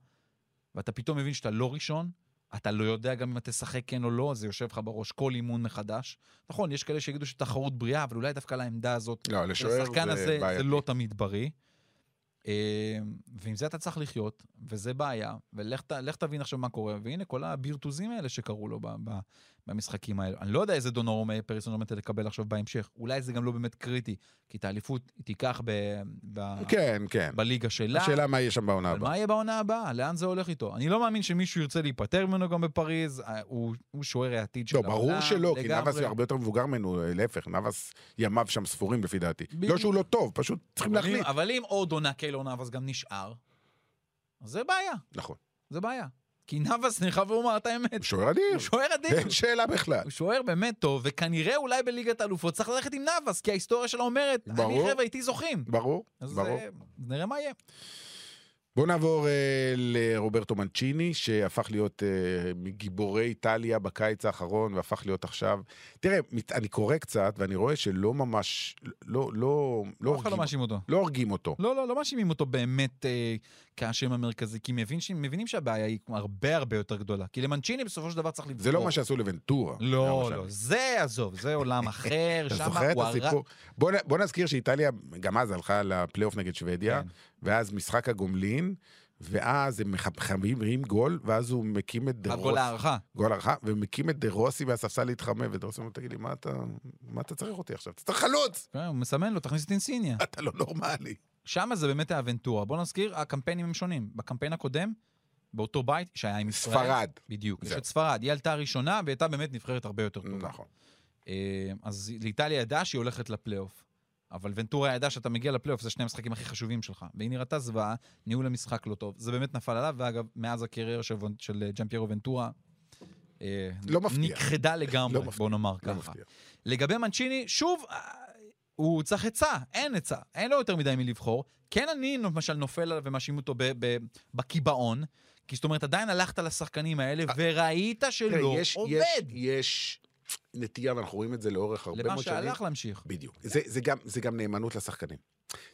ואתה פתאום מבין שאתה לא ראשון, אתה לא יודע גם אם אתה תשחק כן או לא, זה יושב לך בראש כל אימון מחדש. נכון, יש כאלה שיגידו שתחרות בריאה, אבל אולי דווקא לעמדה הזאת,
לא, לשוער
לשחקן
זה
הזה,
בעייתי.
זה לא תמיד בריא. אה, ועם זה אתה צריך לחיות, וזה בעיה, ולך ת- לך תבין עכשיו מה קורה, והנה כל הבירטוזים האלה שקרו לו ב- ב- במשחקים האלו. אני לא יודע איזה דונורומה פריסון עומד לקבל עכשיו בהמשך, אולי זה גם לא באמת קריטי, כי את האליפות היא תיקח ב- ב-
כן, כן.
בליגה שלה.
השאלה מה יהיה שם בעונה
אבל
הבאה.
מה יהיה בעונה הבאה? לאן זה הולך איתו? אני לא מאמין שמישהו ירצה להיפטר ממנו גם בפריז, אה, הוא הוא שוער העתיד של
לא, ברור
העולם,
שלא, כי
לגמרי.
נאבס הוא הרבה יותר מבוגר ממנו, להפך, נאבס ימיו שם ספורים לפי דעתי.
בדיוק.
לא שהוא לא טוב, פשוט צריכים
אבל אם-
להחליט.
אבל אם עוד עונה קיילור נאבס גם נשאר, אז זה בעיה,
נכון.
זה בעיה. כי נאבס, אני חייב לומר את האמת,
שוער אדיר,
הוא שוער אדיר.
אין שאלה בכלל.
הוא שוער באמת טוב, וכנראה אולי בליגת האלופות צריך ללכת עם נאבס, כי ההיסטוריה שלו אומרת, אני
ברור.
חבר'ה איתי זוכים.
ברור,
אז
ברור.
אה, נראה מה יהיה.
בואו נעבור אה, לרוברטו מנצ'יני, שהפך להיות אה, מגיבורי איטליה בקיץ האחרון, והפך להיות עכשיו... תראה, מת- אני קורא קצת, ואני רואה שלא ממש... לא, לא, לא,
אף אחד לא
הורגים,
מאשים אותו.
לא הורגים אותו.
לא, לא, לא מאשימים אותו באמת אה, כאשם המרכזי, כי מבין, ש- מבינים שהבעיה היא הרבה הרבה יותר גדולה. כי למנצ'יני בסופו של דבר צריך לבחור.
זה לא מה שעשו לוונטורה.
לא,
למשל.
לא, זה עזוב,
<laughs>
זה עולם אחר,
אתה
שם
זוכר את
הוא הרע-
הסיפור? בוא, נ- בוא נזכיר שאיטליה, גם אז הלכה לפלייאוף נגד שוודיה,
כן.
ואז משחק הגומלין, ואז הם מחברים גול, ואז הוא מקים את דה
הגול
רוסי.
הערכה.
גול הרחב, ומקים את דה רוסי מהספסל להתחמם, ודה רוסי אומר, תגיד לי, מה אתה, מה אתה צריך אותי עכשיו? אתה צריך חלוץ!
כן, הוא מסמן לו, תכניס את אינסיניה.
אתה לא נורמלי.
שם זה באמת האבנטורה. בוא נזכיר, הקמפיינים הם שונים. בקמפיין הקודם, באותו בית, שהיה עם ישראל.
ספרד.
בדיוק, יש
זהו.
את ספרד. היא עלתה הראשונה, והיא הייתה באמת נבחרת הרבה יותר טובה.
נכון.
אה, אז לאיטליה ידעה שהיא הולכת לפלייאוף. אבל ונטורה ידע שאתה מגיע לפלייאוף, זה שני המשחקים הכי חשובים שלך. והיא נראתה זוועה, ניהול המשחק לא טוב. זה באמת נפל עליו, ואגב, מאז הקריירה של, וונ- של אה, ג'אמפיירו ונטורה, אה,
לא מפתיע.
נכחדה לגמרי,
לא מפתיע,
בוא נאמר
לא
ככה.
מפתיע.
לגבי מנצ'יני, שוב, אה, הוא צריך עצה, אין עצה, אין לו יותר מדי מלבחור. כן אני למשל נופל עליו ומאשים אותו ב- ב- בקיבעון, כי זאת אומרת, עדיין הלכת לשחקנים האלה וראית שלא
אה, תראה, יש,
עובד.
יש, יש נטייה, ואנחנו רואים את זה לאורך הרבה
למה
מאוד שנים.
שהלך להמשיך.
בדיוק. זה, זה, גם, זה גם נאמנות לשחקנים.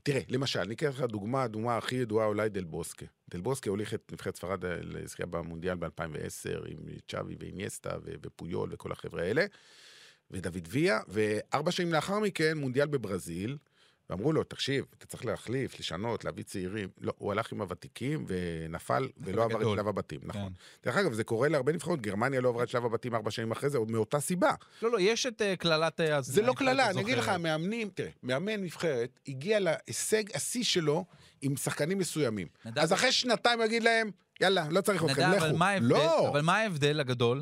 תראה, למשל, אני אקח לך דוגמה, הדוגמה הכי ידועה אולי דל בוסקה. דל בוסקה הוליך את נבחרת ספרד אה, לזכייה במונדיאל ב-2010 עם צ'אבי ואיניאסטה ו- ופויול וכל החבר'ה האלה, ודוד ויה, וארבע שנים לאחר מכן מונדיאל בברזיל, ואמרו לו, תקשיב, אתה צריך להחליף, לשנות, להביא צעירים. לא, הוא הלך עם הוותיקים ונפל ולא עבר את
בגדול.
שלב הבתים, נכון.
כן.
דרך אגב, זה קורה להרבה נבחרות, גרמניה לא עברה את שלב הבתים ארבע שנים אחרי זה, עוד מאותה סיבה.
לא, לא, יש את אה, קללת... אה, אז-
זה לא
אני
קללה, אני
זוכר.
אגיד לך, המאמנים, תראה, מאמן נבחרת הגיע להישג השיא שלו עם שחקנים מסוימים.
נדב-
אז אחרי שנתיים יגיד להם, יאללה, לא צריך אתכם,
נדב,
לכו.
אבל מה ההבדל-
לא,
אבל מה ההבדל הגדול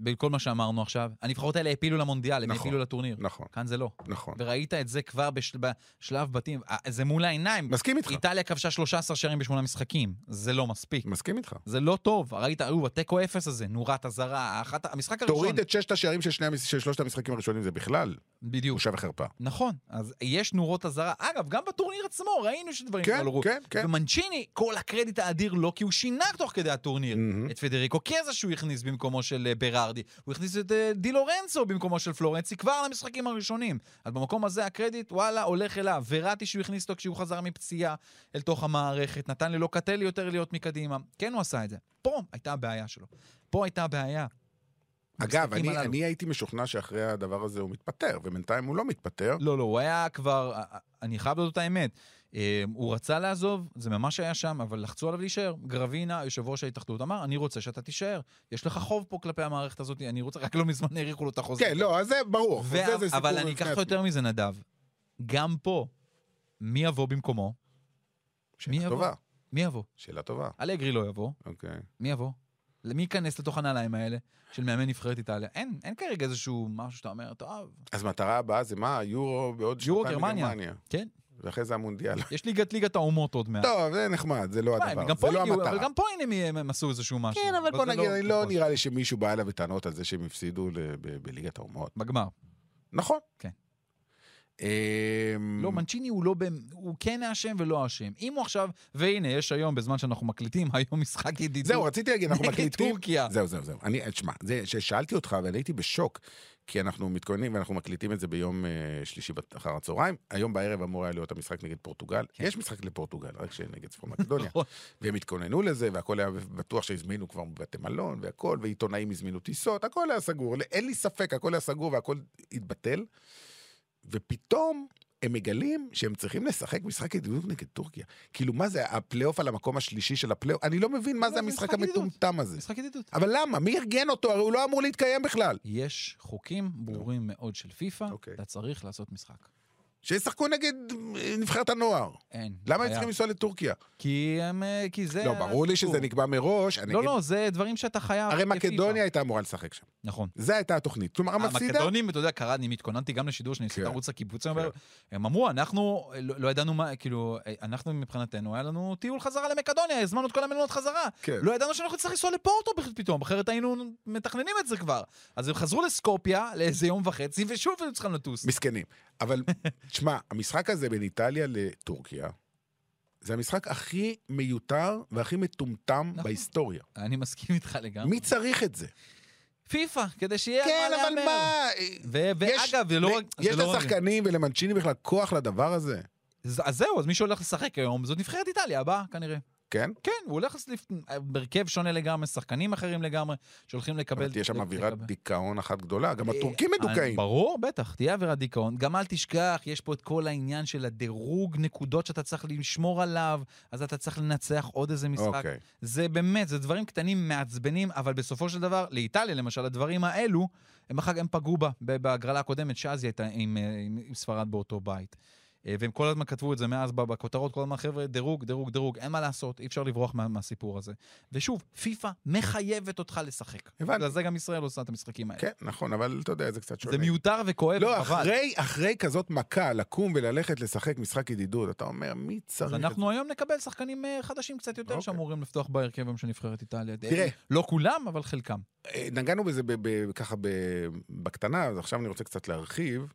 בין כל מה שאמרנו עכשיו? הנבחרות האלה הפילו למונדיאל, הם
נכון,
הפילו לטורניר.
נכון.
כאן זה לא.
נכון.
וראית את זה כבר בשל- בשלב בתים, אה, זה מול העיניים.
מסכים איתך,
איטליה כבשה 13 שערים בשמונה משחקים, זה לא מספיק.
מסכים איתך.
זה לא טוב, ראית, היו התיקו אפס הזה, נורת אזהרה, האחת- המשחק הראשון.
תוריד את ששת השערים של שני המש- של שלושת המשחקים הראשונים, זה בכלל
בדיוק.
בושה וחרפה.
נכון, אז יש נורות אזהרה. אגב, גם בטורניר עצמו ראינו שדברים
כן,
כאלה לא ראו.
כן, כן.
ומנצ'יני, כל הקרדיט האדיר לו, כי הוא שינה תוך כדי הטורניר.
מהמם.
את פדריקו קזה שהוא הכניס במקומו של אה, ברארדי, הוא הכניס את אה, די לורנצו במקומו של פלורנצי כבר למשחקים הראשונים. אז במקום הזה הקרדיט, וואלה, הולך אליו. וראטי שהוא הכניס אותו כשהוא חזר מפציעה אל תוך המערכת, נתן ללוקטלי יותר להיות מקדימה. כן, הוא עשה את זה. פה הייתה הבעיה שלו. פה הייתה הבעיה.
אגב,
המשחקים
אני,
הללו.
אני הייתי משוכנע שאחרי הדבר הזה הוא מתפטר, ובינתיים הוא לא מתפטר.
לא, לא, הוא היה כבר, אה, אני חייב להודות את האמת. אה, הוא רצה לעזוב, זה ממש היה שם, אבל לחצו עליו להישאר. גרבינה, יושב ראש ההתאחדות, אמר, אני רוצה שאתה תישאר. יש לך חוב פה כלפי המערכת הזאת, אני רוצה, רק לא מזמן האריכו לו את החוזה.
כן, לא, אז זה ברור.
ו-
זה- זה
אבל
סיפור
אני
בפני
אקח לך
עצמו.
יותר מזה, נדב. גם פה, מי יבוא במקומו? מי
שאלה
יבוא?
טובה,
מי יבוא?
שאלה טובה,
אלגרי לא יבוא,
אוקיי.
מי יבוא? מי ייכנס לתוך הנעליים האלה של מאמן נבחרת איטליה? אין, אין כרגע איזשהו משהו שאתה אומר, טוב,
אז מטרה הבאה זה מה? יורו בעוד
יורו,
שנתיים
גרמניה.
בגרמניה.
כן.
ואחרי זה המונדיאל.
יש ליגת ליגת האומות עוד מעט.
טוב, זה נחמד, זה לא
מה, הם
הדבר,
גם
זה
אה, פה
לא
הגיעו, אבל
המטרה.
גם פה הנה מי- הם הם עשו איזשהו משהו.
כן, אבל בוא
זה
נגיד, אני לא
נכון.
נראה לי שמישהו בא אליו בטענות על זה שהם הפסידו ל- ב- בליגת האומות.
בגמר.
נכון.
כן.
אמ,
לא, מנצ'יני הוא לא, במ- הוא כן האשם ולא האשם. אם הוא עכשיו, והנה, יש היום, בזמן שאנחנו מקליטים, <laughs> היום משחק ידידות.
זהו, רציתי להגיד, אנחנו
נגד
מקליטים...
טורקיה.
זהו, זהו, זהו. אני, תשמע, זה ששאלתי אותך, אבל הייתי בשוק, כי אנחנו מתכוננים ואנחנו מקליטים את זה ביום אה, שלישי בת- אחר הצהריים. היום בערב אמור היה להיות המשחק נגד פורטוגל.
כן.
יש משחק לפורטוגל, רק שנגד צפון
<laughs>
מקדוניה.
נכון.
והם התכוננו לזה, והכל היה בטוח שהזמינו כבר בתי מלון, והכל, ועיתונאים הזמינו טיסות, הכל היה סגור. אין לי ספק, הכל היה סגור והכל התבטל. ופתאום הם מגלים שהם צריכים לשחק משחק ידידות נגד טורקיה. כאילו, מה זה הפלייאוף על המקום השלישי של הפלייאוף? אני לא מבין מה
לא,
זה
זה
המשחק
משחק ידידות.
המטומטם הזה.
משחק ידידות.
אבל למה? מי ארגן אותו? הרי הוא לא אמור להתקיים בכלל.
יש חוקים ברורים מאוד של פיפא,
אוקיי.
אתה צריך לעשות משחק.
שישחקו נגד אה, נבחרת הנוער.
אין.
למה הם
היה.
צריכים לנסוע לטורקיה?
כי הם... אה, כי זה...
לא, ברור לי שזה
הסיפור.
נקבע מראש. אני
לא,
אגיד-
לא, זה דברים שאתה חייב.
הרי
כפיפא.
מקדוניה הייתה אמורה לשחק שם.
נכון.
זו הייתה התוכנית. כלומר, המפסידה...
המקדונים, אתה יודע, קראתי, התכוננתי גם לשידור שאני עשיתי
כן.
ערוץ הקיבוץ, אני אומר, הם אמרו, אנחנו לא לא ידענו מה, כאילו, אנחנו מבחינתנו, היה לנו טיול חזרה למקדוניה, הזמנו את כל המלונות חזרה.
כן.
לא ידענו שאנחנו נצטרך לנסוע לפורטו בכ- פתאום, אחרת היינו מתכננים את זה כבר. אז הם חזרו לסקופיה לאיזה יום וחצי, ושוב היו צריכים לטוס.
מסכנים. אבל, <laughs> תשמע, המשחק הזה בין איטליה לטורקיה, זה המשחק הכי מיותר והכי מטומטם
נכון.
בהיסטוריה.
אני מסכים איתך לגמרי.
מי צריך את זה?
פיפא, כדי שיהיה על
כן, אבל
להמר.
מה...
ו-
יש-
ואגב, זה לא
ו-
רק... זה
יש
לא רק-
לשחקנים ולמנצ'יני בכלל כוח לדבר הזה,
אז אז זהו, אז מי שהולך לשחק היום, זאת נבחרת איטליה הבאה, כנראה.
כן?
כן, הוא הולך לסניף, בהרכב שונה לגמרי, שחקנים אחרים לגמרי, שהולכים לקבל...
אבל תהיה שם אווירת
לקבל.
דיכאון אחת גדולה, גם הטורקים
אה,
מדוכאים.
ברור, בטח, תהיה אווירת דיכאון. גם אל תשכח, יש פה את כל העניין של הדירוג נקודות שאתה צריך לשמור עליו, אז אתה צריך לנצח עוד איזה משחק.
אוקיי.
זה באמת, זה דברים קטנים מעצבנים, אבל בסופו של דבר, לאיטליה למשל, הדברים האלו, הם אחר כך הם פגעו בה, ב- בהגרלה הקודמת, שאז היא הייתה עם, אה, עם, עם ספרד באותו בית. אה, והם כל הזמן כתבו את זה מאז ב- בכותרות, כל הזמן, חבר'ה, דירוג, דירוג, דירוג, אין מה לעשות, אי אפשר לברוח מה, מהסיפור הזה. ושוב, פיפ"א מחייבת אותך לשחק.
הבנתי.
בגלל זה גם ישראל עושה את המשחקים האלה.
כן, נכון, אבל אתה יודע, זה קצת שונה.
זה מיותר וכואב,
לא,
אבל...
אחרי, אחרי כזאת מכה, לקום וללכת לשחק משחק ידידות, אתה אומר, מי צריך
אז
את זה?
אנחנו היום נקבל שחקנים אה, חדשים קצת יותר
אוקיי.
שאמורים לפתוח בהרכב היום של נבחרת איטליה.
תראה.
אה, לא כולם, אבל חלקם.
אה, נגענו בזה ב- ב- ככה ב- בקטנה, אז עכשיו אני רוצה קצת להרחיב,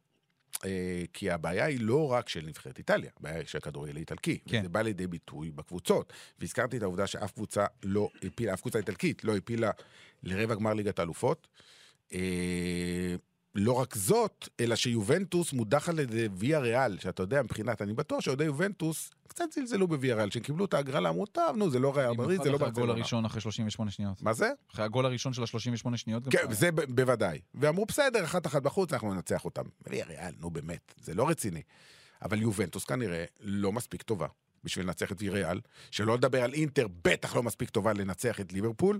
אה, כי הבעיה היא לא רק של נבחרת איטליה, הבעיה היא של הכדורגל האיטלקי.
כן.
וזה בא לידי ביטוי בקבוצות. והזכרתי את העובדה שאף קבוצה לא הפילה, אף קבוצה איטלקית לא הפילה לרבע גמר ליגת האלופות. אה, לא רק זאת, אלא שיובנטוס מודח על ידי ויה ריאל, שאתה יודע, מבחינת, אני בטוח שאוהדי יובנטוס קצת זלזלו בוויה ריאל, שהם קיבלו את ההגרלה, אמרו, טוב, נו, זה לא ריאל מדריד, זה לא
במיוחד אחרי הגול
ברצלונה.
הראשון אחרי 38 שניות.
מה זה?
אחרי הגול הראשון של ה-38 שניות. גם
כן,
שהיה.
זה ב- בוודאי. ואמרו, בסדר, אחת אחת בחוץ, אנחנו ננצח אותם. ויאריאל, נו באמת, זה לא רציני. אבל יובנטוס כנראה לא מספיק טובה בשביל לנצח את ויריאל, שלא לדבר על אינטר, בטח לא מספיק טובה לנצח את ליברפול,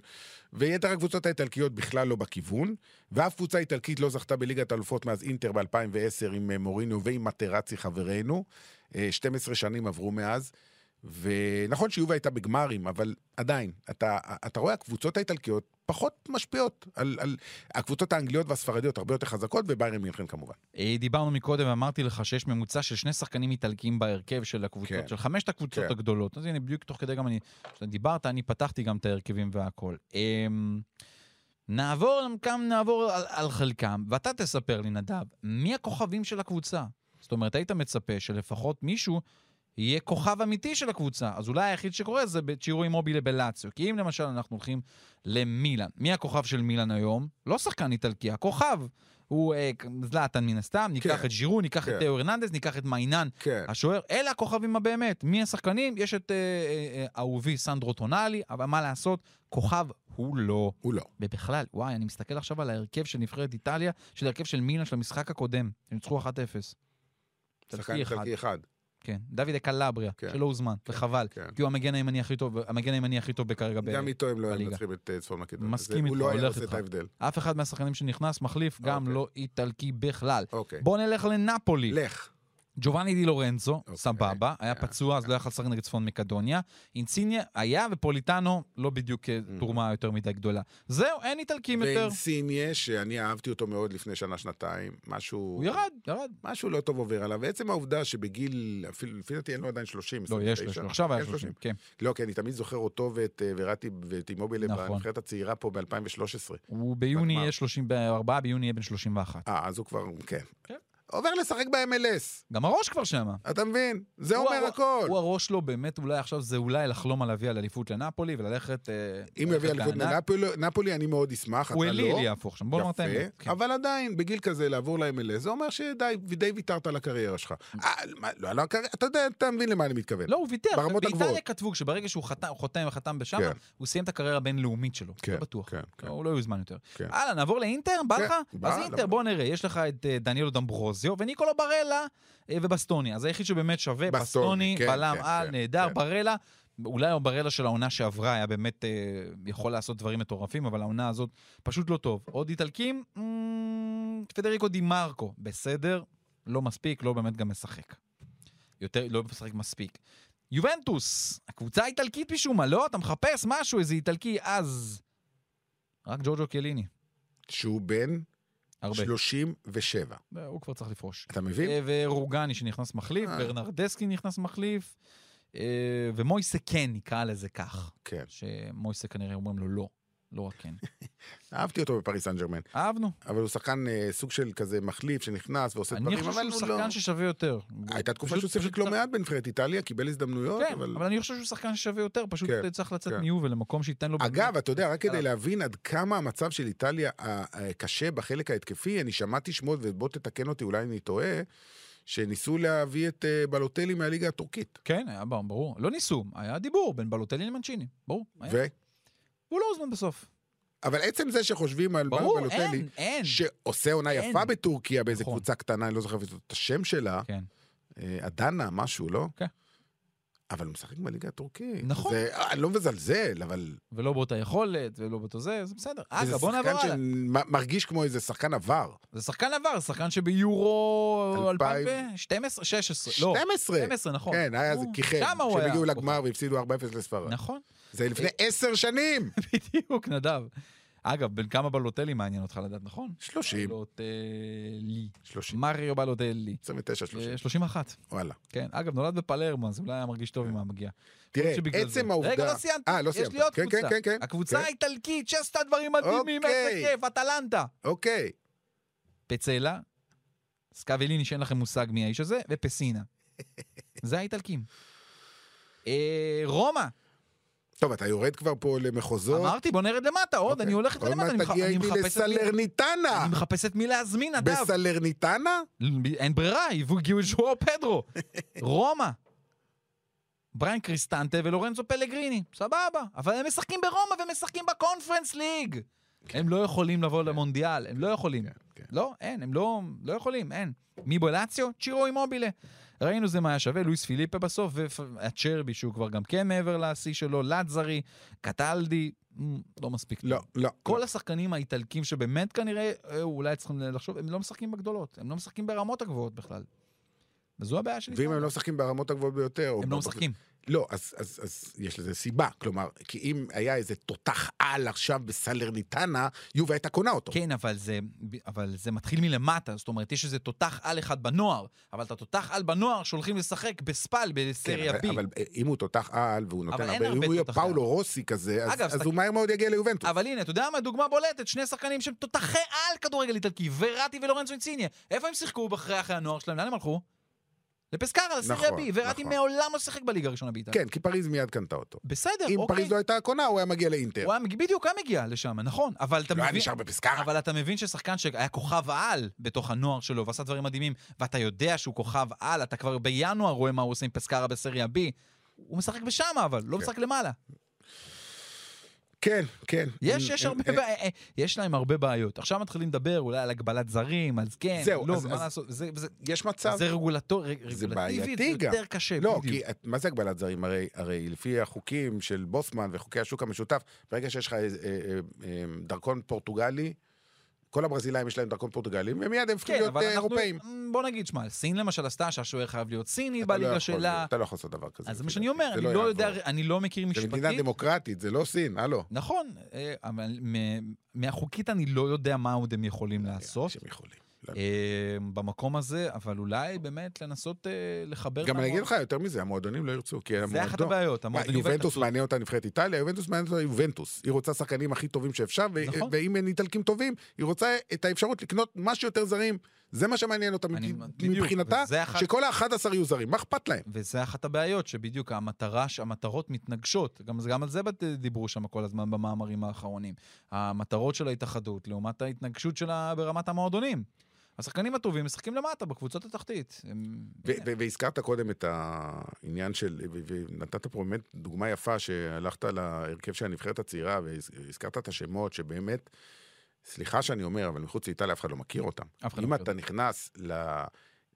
ויתר הקבוצות האיטלקיות בכלל לא בכיוון, ואף קבוצה איטלקית לא זכתה בליגת האלופות מאז אינטר ב-2010 עם אה, מוריניו ועם מטרצי חברנו. אה, 12 שנים עברו מאז. ונכון שיובה הייתה בגמרים, אבל עדיין, אתה, אתה רואה, הקבוצות האיטלקיות פחות משפיעות על, על הקבוצות האנגליות והספרדיות הרבה יותר חזקות, וביירן מינכן כמובן.
אה, דיברנו מקודם, אמרתי לך שיש ממוצע של שני שחקנים איטלקים בהרכב של הקבוצות,
כן.
של חמשת הקבוצות
כן.
הגדולות. אז הנה, בדיוק תוך כדי גם אני... כשאתה דיברת, אני פתחתי גם את ההרכבים והכל. אמ, נעבור, גם נעבור על, על חלקם, ואתה תספר לי, נדב, מי הכוכבים של הקבוצה? זאת אומרת, היית מצפה שלפחות מישהו יהיה כוכב אמיתי של הקבוצה. אז אולי היחיד שקורה זה בצ'ירו אימובילה בלאציו. כי אם למשל אנחנו הולכים למילאן, מי הכוכב של מילאן היום? לא שחקן איטלקי, הכוכב. הוא אה, זלאטן מן הסתם, ניקח
כן.
את ג'ירו, ניקח
כן.
את תאו הרננדז, ניקח את מיינן,
כן.
השוער, אלה הכוכבים הבאמת. מי השחקנים? יש את אה, אה, אה, אהובי סנדרו טונאלי, אבל מה לעשות, כוכב הוא לא.
הוא לא.
ובכלל, וואי, אני מסתכל עכשיו על ההרכב של נבחרת איטליה, של ההרכב של מילה של המשחק הקודם, הם ניצחו 1-0.
שחקן
תלכי אחד.
איטלקי אחד.
כן, דוד קלבריה,
כן.
שלא הוזמן, וחבל,
כן.
כי הוא המגן הימני הכי טוב, המגן הימני הכי טוב כרגע ב...
גם איתו הם לא היו
בליגה.
מנצחים את אה, צפון מקדוניה.
מסכים
זה-
איתך,
הוא לא היה
הולך
עושה את
איתך.
ההבדל.
אף אחד מהשחקנים שנכנס מחליף, גם
אוקיי.
לא איטלקי בכלל.
אוקיי.
בואו נלך לנפולי.
לך.
ג'ובאני די לורנזו,
אוקיי.
סבבה, היה
כן.
פצוע, אז לא יכל לשחק נגד צפון מקדוניה. אינציניה היה, ופוליטאנו לא בדיוק אה,
Mm-hmm.
תרומה יותר מדי גדולה. זהו, אין איטלקים יותר.
ואינסיניה, שאני אהבתי אותו מאוד לפני שנה-שנתיים, משהו...
הוא ירד, ירד.
משהו לא טוב עובר עליו. עצם העובדה שבגיל, אפילו לפי דעתי אין לו עדיין 30,
לא, יש
29.
לו, עכשיו היה
יש
30, כן.
לא, כי אני תמיד זוכר אותו ואת אה, וראטי ואת אימובילה
נכון.
בנבחרת הצעירה פה ב-2013.
הוא ביוני
בגמר.
יהיה 34, ביוני יהיה בן 31.
אה, אז הוא כבר, כן.
כן.
עובר לשחק ב-MLS,
גם הראש כבר שם.
אתה מבין? זה
הוא
אומר
הר-
הכל.
הוא הראש לו באמת, אולי עכשיו זה אולי לחלום על להביא על אליפות לנפולי וללכת... אה,
אם
ללכת
יביא אליפות
לענק.
לנפולי- נפולי, אני מאוד אשמח, אתה
הוא
לא.
אלילי יהפוך שם, בוא נאמר את האמת.
יפה,
כן.
אבל עדיין, בגיל כזה לעבור ל-MLS, זה אומר שדי, די ויתרת על הקריירה שלך. אה, מה, לא על הקריירה, אתה יודע, אתה מבין למה אני מתכוון.
לא, הוא ויתר.
ברמות
באיטליה
הגבוהות.
כתבו שברגע שהוא חתם, הוא חותם וחתם בשם,
כן.
הוא סיים את הקריירה הבינלאומית שלו.
כן,
לא בטוח.
כן, כן.
לא, הוא לא יוזמן יותר.
כן.
הלאה, נעבור לאינטר? בא
כן,
לך?
בא,
אז
למה
אינטר,
לא?
בוא נראה. יש לך את אה, דניאלו דמברוזיו וניקולו ברלה אה, ובסטוני. אז היחיד שבאמת שווה,
בסטוני,
בסטוני,
כן,
בלם
כן,
על,
כן,
נהדר,
כן.
ברלה. אולי הברלה של העונה שעברה היה באמת אה, יכול לעשות דברים מטורפים, אבל העונה הזאת פשוט לא טוב. עוד איטלקים? אמ, פדריקו די מרקו, בסדר, לא מספיק, לא באמת גם משחק. יותר, לא משחק מספיק. יובנטוס, הקבוצה האיטלקית משום מה, לא? אתה מחפש משהו, איזה איטלקי, אז... רק ג'ורג'ו קליני,
שהוא בן
הרבה.
37.
אה, הוא כבר צריך לפרוש.
אתה מבין?
אה, ורוגני שנכנס מחליף,
אה.
ברנרדסקי נכנס מחליף, אה, ומויסה כן, נקרא לזה כך.
כן.
שמויסה כנראה אומרים לו לא, לא רק
<laughs>
כן.
אהבתי אותו בפריס סן ג'רמן.
אהבנו.
אבל הוא שחקן אה, סוג של כזה מחליף שנכנס ועושה
אני
דברים,
חושב
אבל
שהוא
הוא לא...
שחקן ששווה יותר.
הייתה תקופה
פשוט-
שהוא שיחק
פשוט
לא
צריך-
מעט בנבחרת איטליה, קיבל הזדמנויות,
כן,
אבל...
אבל אני חושב שהוא שחקן ששווה יותר, פשוט
כן,
צריך לצאת
כן.
מיובל למקום שייתן לו...
אגב, אתה יודע, רק כדי
יאללה.
להבין עד כמה המצב של איטליה אה, אה, קשה בחלק ההתקפי, אני שמעתי שמות, ובוא תתקן אותי, אולי אני טועה, שניסו להביא את אה, בלוטלי מהליגה הטורקית.
כן, היה בר- ברור. לא ניסו, היה דיבור בין בלוטלי למנצ'יני, ברור. היה.
ו...
הוא לא הוזמן בסוף.
אבל עצם זה שחושבים על
ברור,
בלוטלי,
אין, אין.
שעושה עונה
אין.
יפה בטורקיה באיזה
נכון.
קבוצה קטנה, אני לא זוכר אפילו את השם שלה,
כן.
אה, אדנה, משהו, לא?
כן.
אבל הוא משחק בליגה הטורקית.
נכון.
זה- אה, אני לא מזלזל, אבל...
ולא באותה יכולת, ולא באותו זה, זה בסדר.
איזה
אגב, בוא נעבור
שחקן
הלאה.
שמרגיש כמו איזה שחקן עבר.
זה שחקן עבר, שחקן שביורו
אלפיים-
2012, 16, לא,
12.
12, נכון.
כן, היה איזה
הוא-
כיכב.
שמה הוא היה.
שהם הגיעו לגמר
כוכב.
והפסידו 4-0 לספרד.
נכון, <laughs>
זה לפני עשר שנים!
בדיוק, נדב. אגב, בין כמה בלוטלי מעניין אותך לדעת, נכון?
30.
בלוטלי.
30.
מריו בלוטלי.
29, 30.
אה, 31,
וואלה.
כן. אגב, נולד בפלרמו, אז אולי היה מרגיש טוב אם היה מגיע.
תראה,
שבגלל
עצם
זה.
העובדה...
רגע, לא סיימתי.
אה, לא
יש
סיימת.
לי עוד
כן,
קבוצה.
כן, כן, כן.
הקבוצה
כן.
האיטלקית שעשתה דברים מדהימים, איזה
אוקיי.
כיף, אטלנטה.
אוקיי.
פצלה, סקאבליני, שאין לכם מושג מי האיש הזה,
<laughs>
ופסינה. זה האיטלקים. אה, רומא,
טוב, אתה יורד כבר פה למחוזות.
אמרתי, בוא נרד למטה, עוד,
אוקיי.
אני הולך איתך
עוד
למטה,
מעט
אני מח-
תגיע
אני
איתי
מחפש את מי-
לסלרניטנה!
אני מחפש את מי להזמין, נדב.
בסלרניטנה?
ל- אין ברירה, הביאו- הגיעו את ז'ואר פדרו. רומא. בריין קריסטנטה ולורנזו פלגריני, סבבה. אבל הם משחקים ברומא ומשחקים בקונפרנס ליג. הם לא יכולים לבוא למונדיאל, הם לא יכולים.
כן, כן.
לא, אין, הם לא, לא יכולים, אין. מי בלציו? צ'ירו אימובילה. ראינו זה מה היה שווה, לואיס פיליפה בסוף, והצ'רבי שהוא כבר גם כן מעבר לשיא שלו, לצזרי, קטלדי, מ, לא מספיק.
לא, לא.
כל השחקנים האיטלקים שבאמת כנראה, אה, אולי צריכים לחשוב, הם לא משחקים בגדולות, הם לא משחקים ברמות הגבוהות בכלל. וזו הבעיה שלי.
ואם הם לא משחקים ברמות הגבוהות ביותר... או
הם לא
ב-
משחקים.
לא, אז, אז, אז יש לזה סיבה. כלומר, כי אם היה איזה תותח על עכשיו בסלרניטנה, יובה הייתה קונה אותו.
כן, אבל זה, אבל זה מתחיל מלמטה, זאת אומרת, יש איזה תותח על אחד בנוער, אבל את התותח על בנוער שהולכים לשחק בספאל בסריה
אבל,
B.
אבל אה, אם הוא תותח על והוא נותן
אבל אין
הרבה, אם
הרבה
הוא יהיה
תותחי
פאולו
על.
רוסי כזה, אז,
אגב,
אז
סתכל-
הוא מהר מאוד יגיע ליובנטוס.
אבל הנה, אתה יודע מה? דוגמה בולטת, שני שחקנים שהם תותחי על כדורגל איטלקי, וראטי ולורנצו אינציניה. איפה הם שיחקו אחרי אחרי הנוער שלהם? לאן הם הלכו? לפסקרה, לסריה
נכון,
B. וראטי
נכון.
מעולם לא שיחק בליגה הראשונה באיטליה.
כן, כי פריז מיד קנתה אותו.
בסדר,
אם
אוקיי.
פריז לא הייתה קונה, הוא היה מגיע לאינטר.
הוא היה מגיע- בדיוק היה מגיע לשם, נכון. אבל אתה
לא כן. היה
מבין-
נשאר בפסקה.
אבל אתה מבין ששחקן שהיה כוכב על בתוך הנוער שלו ועשה דברים מדהימים, ואתה יודע שהוא כוכב על, אתה כבר בינואר רואה מה הוא עושה עם פסקרה בסריה B. הוא משחק בשמה אבל, לא משחק למעלה.
כן, כן.
יש,
הם-
יש
הם-
הרבה,
הם-
בע- אה, יש להם הרבה בעיות. עכשיו מתחילים לדבר אולי על הגבלת זרים, אז כן,
זהו,
לא,
אז-
מה
אז-
לעשות, זה, זה,
יש מצב.
זה רגולטורי,
זה
רגולטיבית,
בעייתי
זה
גם.
יותר קשה,
לא,
בדיוק.
כי את- מה זה הגבלת זרים? הרי, הרי לפי החוקים של בוסמן וחוקי השוק המשותף, ברגע שיש לך אה, אה, אה, אה, דרכון פורטוגלי, כל הברזילאים יש להם דרכון פורטוגלי, ומיד הם הופכים
כן,
להיות
אבל
אה,
אנחנו,
אירופאים.
בוא נגיד, שמע, סין למשל עשתה שהשוער חייב להיות סיני
אתה לא
בליגה
יכול,
שלה,
אתה לא יכול לעשות דבר כזה.
אז זה מה
לפי
שאני
דעתי.
אומר,
זה
אני
לא
לא יודע,
יעבור.
אני לא מכיר
זה מדינה
משפטית.
דמוקרטית, זה לא סין, הלו.
נכון, אה, אבל מ- מהחוקית אני לא יודע מה עוד הם
לא
יכולים לעשות
שהם יכולים.
אה, במקום הזה, אבל אולי באמת לנסות אה, לחבר...
גם
את
אני אגיד
המועדון.
לך, יותר מזה, המועדונים לא ירצו, כי המועדון...
זה אחת הבעיות,
מה,
המועדונים
יובנטוס
והתאחדות.
מעניין אותה נבחרת איטליה, יובנטוס מעניין אותה יובנטוס. היא רוצה שחקנים הכי טובים שאפשר, ו-
נכון.
ואם אין איטלקים טובים, היא רוצה את האפשרות לקנות מה שיותר זרים. זה מה שמעניין אותה
אני-
מבח-
בדיוק,
מבחינתה,
וזה אחת-
שכל ה-11 יהיו זרים, מה אכפת להם?
וזה אחת הבעיות, שבדיוק המטרה, המטרות מתנגשות. גם, גם על זה בת- דיברו שם כל הזמן במאמרים האחרונים. המטרות של ההתאחדות לעומת ההתנגשות שלה ברמת המועדונים. השחקנים הטובים משחקים למטה, בקבוצות התחתית. הם...
ו- ו- והזכרת קודם את העניין של, ו- ונתת פה באמת דוגמה יפה שהלכת להרכב של הנבחרת הצעירה והזכרת את השמות שבאמת, סליחה שאני אומר, אבל מחוץ לאיטליה אף אחד לא מכיר אותם.
אף אחד לא
אם
מכיר
אתה נכנס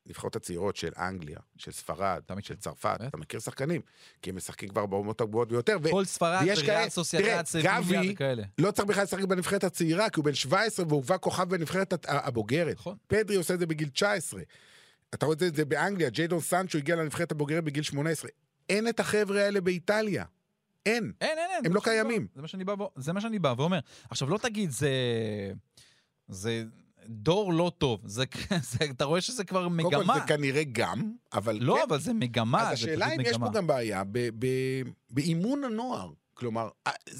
לנבחרות הצעירות של אנגליה, של ספרד,
אתה מכיר.
של צרפת,
באמת?
אתה מכיר שחקנים, כי הם משחקים כבר ברמות הגבוהות ביותר. ו-
כל ספרד,
אה, ויש
ריאל
כאלה-
סוסיידד,
תראה,
סביליה
גבי-
וכאלה.
לא צריך בכלל לשחק בנבחרת הצעירה, כי הוא בן 17 והובא כוכב בנבחרת הת- הבוגרת.
נכון.
פדרי עושה את זה בגיל 19. אתה רואה את זה- את זה באנגליה, ג'יידון סנצ'ו הגיע לנבחרת הבוגרת בגיל 18. אין את החבר'ה האלה באיטליה. אין.
אין, אין, אין. זה
הם
מה
לא
שאני בא-
קיימים.
זה מה שאני בא ו- זה מה שאני בא ואומר. עכשיו, לא תגיד, זה... זה דור לא טוב. זה, <laughs> זה, אתה רואה שזה כבר
קודם כל, זה
מגמה.
כנראה גם, אבל...
לא,
כן.
אבל זה מגמה, זה
אז
פשוט מגמה.
השאלה אם יש פה גם בעיה ב- ב- באימון הנוער. כלומר,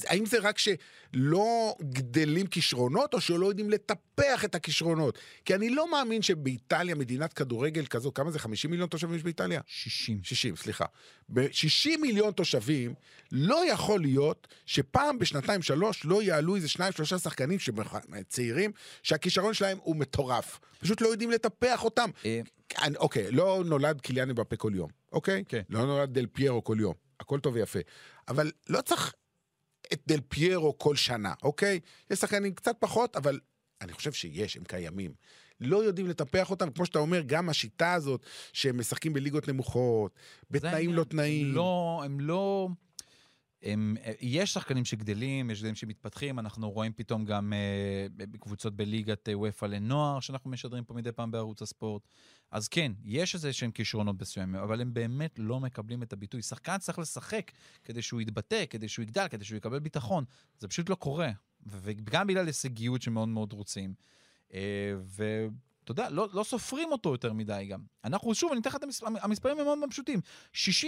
האם זה רק שלא גדלים כישרונות, או שלא יודעים לטפח את הכישרונות? כי אני לא מאמין שבאיטליה, מדינת כדורגל כזו, כמה זה? 50 מיליון תושבים יש באיטליה?
60.
60, סליחה. ב-60 מיליון תושבים, לא יכול להיות שפעם בשנתיים שלוש לא יעלו איזה שניים שלושה שחקנים שמח- צעירים, שהכישרון שלהם הוא מטורף. פשוט לא יודעים לטפח אותם.
אה,
אני- אוקיי, לא נולד קיליאן מבפה כל יום, אוקיי?
כן.
לא נולד דל פיירו כל יום, הכל טוב ויפה. אבל לא צריך את דל פיירו כל שנה, אוקיי? יש שחקנים קצת פחות, אבל אני חושב שיש, הם קיימים. לא יודעים לטפח אותם, כמו שאתה אומר, גם השיטה הזאת, שהם משחקים בליגות נמוכות,
זה
בתנאים
העניין.
לא תנאים.
הם לא, הם לא... הם, יש שחקנים שגדלים, יש שחקנים שמתפתחים, אנחנו רואים פתאום גם אה, קבוצות בליגת אה, וופא לנוער, שאנחנו משדרים פה מדי פעם בערוץ הספורט. אז כן, יש איזה שהם כישרונות מסוימים, אבל הם באמת לא מקבלים את הביטוי. שחקן צריך לשחק כדי שהוא יתבטא, כדי שהוא יגדל, כדי שהוא יקבל ביטחון. זה פשוט לא קורה. ו- וגם בגלל הישגיות שמאוד מאוד רוצים. אה, ואתה יודע, לא, לא סופרים אותו יותר מדי גם. אנחנו, שוב, אני אתן לך את המספרים, המספרים הם מאוד מאוד פשוטים.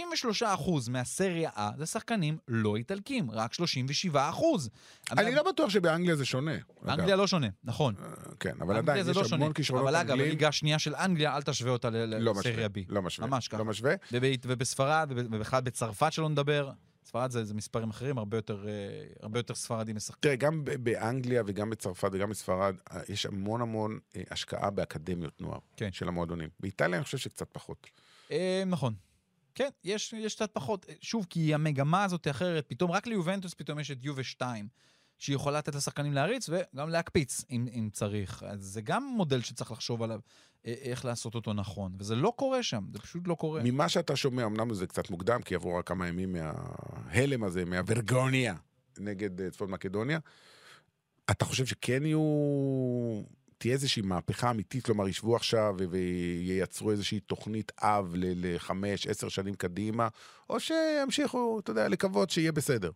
63% מהסריה A זה שחקנים לא איטלקים, רק 37%.
אני לא בטוח שבאנגליה זה שונה.
אנגליה לא שונה, נכון.
אגב. כן, אוקיי. אבל
אנגליה
עדיין
זה
יש
לא שונה.
המון כישרונות
אבל אגב,
אנגלים.
הליגה השנייה של אנגליה, אל תשווה אותה ל-
לא
לסריה
משווה,
B.
לא משווה.
ממש ככה.
לא משווה.
ובית- ובספרד, וב- ובכלל בצרפת שלא נדבר, ספרד זה זה מספרים אחרים, הרבה יותר, אה, הרבה יותר ספרדים משחקים.
תראה, גם ב- באנגליה וגם בצרפת וגם בספרד, אה, יש המון המון אה, השקעה באקדמיות נוער
כן.
של המועדונים. באיטליה אני חושב שקצת פחות.
אה, נכון. כן, יש, יש קצת פחות. אה, שוב, כי המגמה הזאת היא אחרת. פתאום, רק ליובנטוס פתאום יש את יובה 2, שהיא יכולה לתת לשחקנים להריץ וגם להקפיץ, אם, אם צריך. אז זה גם מודל שצריך לחשוב עליו, אה, איך לעשות אותו נכון. וזה לא קורה שם, זה פשוט לא קורה.
ממה שאתה שומע, אמנם זה קצת מוקדם, כי עברו רק כמה ימים מההלם הזה, מהוורגוניה נגד אה, צפון מקדוניה, אתה חושב שכן יהיו... תהיה איזושהי מהפכה אמיתית, כלומר, ישבו עכשיו ו- וייצרו איזושהי תוכנית אב ל- לחמש, עשר שנים קדימה, או שימשיכו, אתה יודע, לקוות שיהיה בסדר.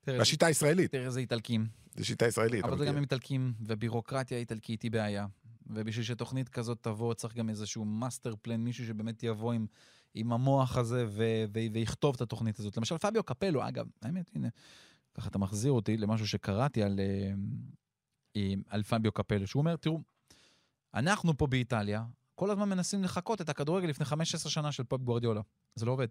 תראה,
השיטה הישראלית,
תראה איזה איטלקים.
זו שיטה ישראלית.
כן. אבל
אבל
זה
כן.
גם עם איטלקים, ובירוקרטיה איטלקית היא בעיה. ובשביל שתוכנית כזאת תבוא, צריך גם איזשהו מאסטר פלן, מישהו שבאמת יבוא עם, עם המוח הזה ו- ו- ויכתוב את התוכנית הזאת. למשל, פביו קפלו, אגב, האמת, הנה, ככה אתה מחזיר אותי למשהו שקראתי על, אה, אה, על פביו קפלו, שהוא אומר, תראו, אנחנו פה באיטליה, כל הזמן מנסים לחקות את הכדורגל לפני 15 שנה של פופ גוורדיולה. זה לא עובד.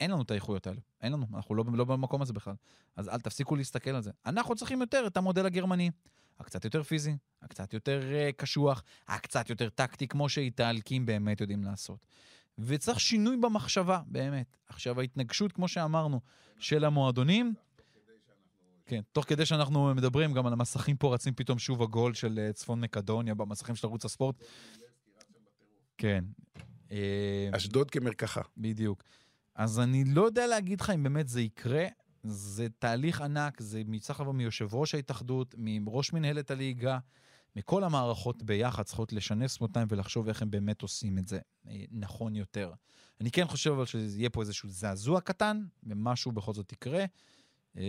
אין לנו את האיכויות האלה. אין לנו, אנחנו לא, לא במקום הזה בכלל. אז אל תפסיקו להסתכל על זה. אנחנו צריכים יותר את המודל הגרמני. הקצת יותר פיזי, הקצת יותר uh, קשוח, הקצת יותר טקטי, כמו שאיטלקים באמת יודעים לעשות. וצריך שינוי במחשבה, באמת. עכשיו, ההתנגשות, כמו שאמרנו, של המועדונים... כן, תוך כדי שאנחנו מדברים, גם על המסכים פה רצים פתאום שוב הגול של אה, צפון מקדוניה במסכים של ערוץ הספורט. כן. אה,
אשדוד כמרקחה.
בדיוק. אז אני לא יודע להגיד לך אם באמת זה יקרה. זה תהליך ענק, זה מ- צריך לבוא מיושב ראש ההתאחדות, מראש מנהלת הליגה, מכל המערכות ביחד צריכות לשנס מותניים ולחשוב איך הם באמת עושים את זה אה, נכון יותר. אני כן חושב אבל שזה יהיה פה איזשהו זעזוע קטן, ומשהו בכל זאת יקרה, אה,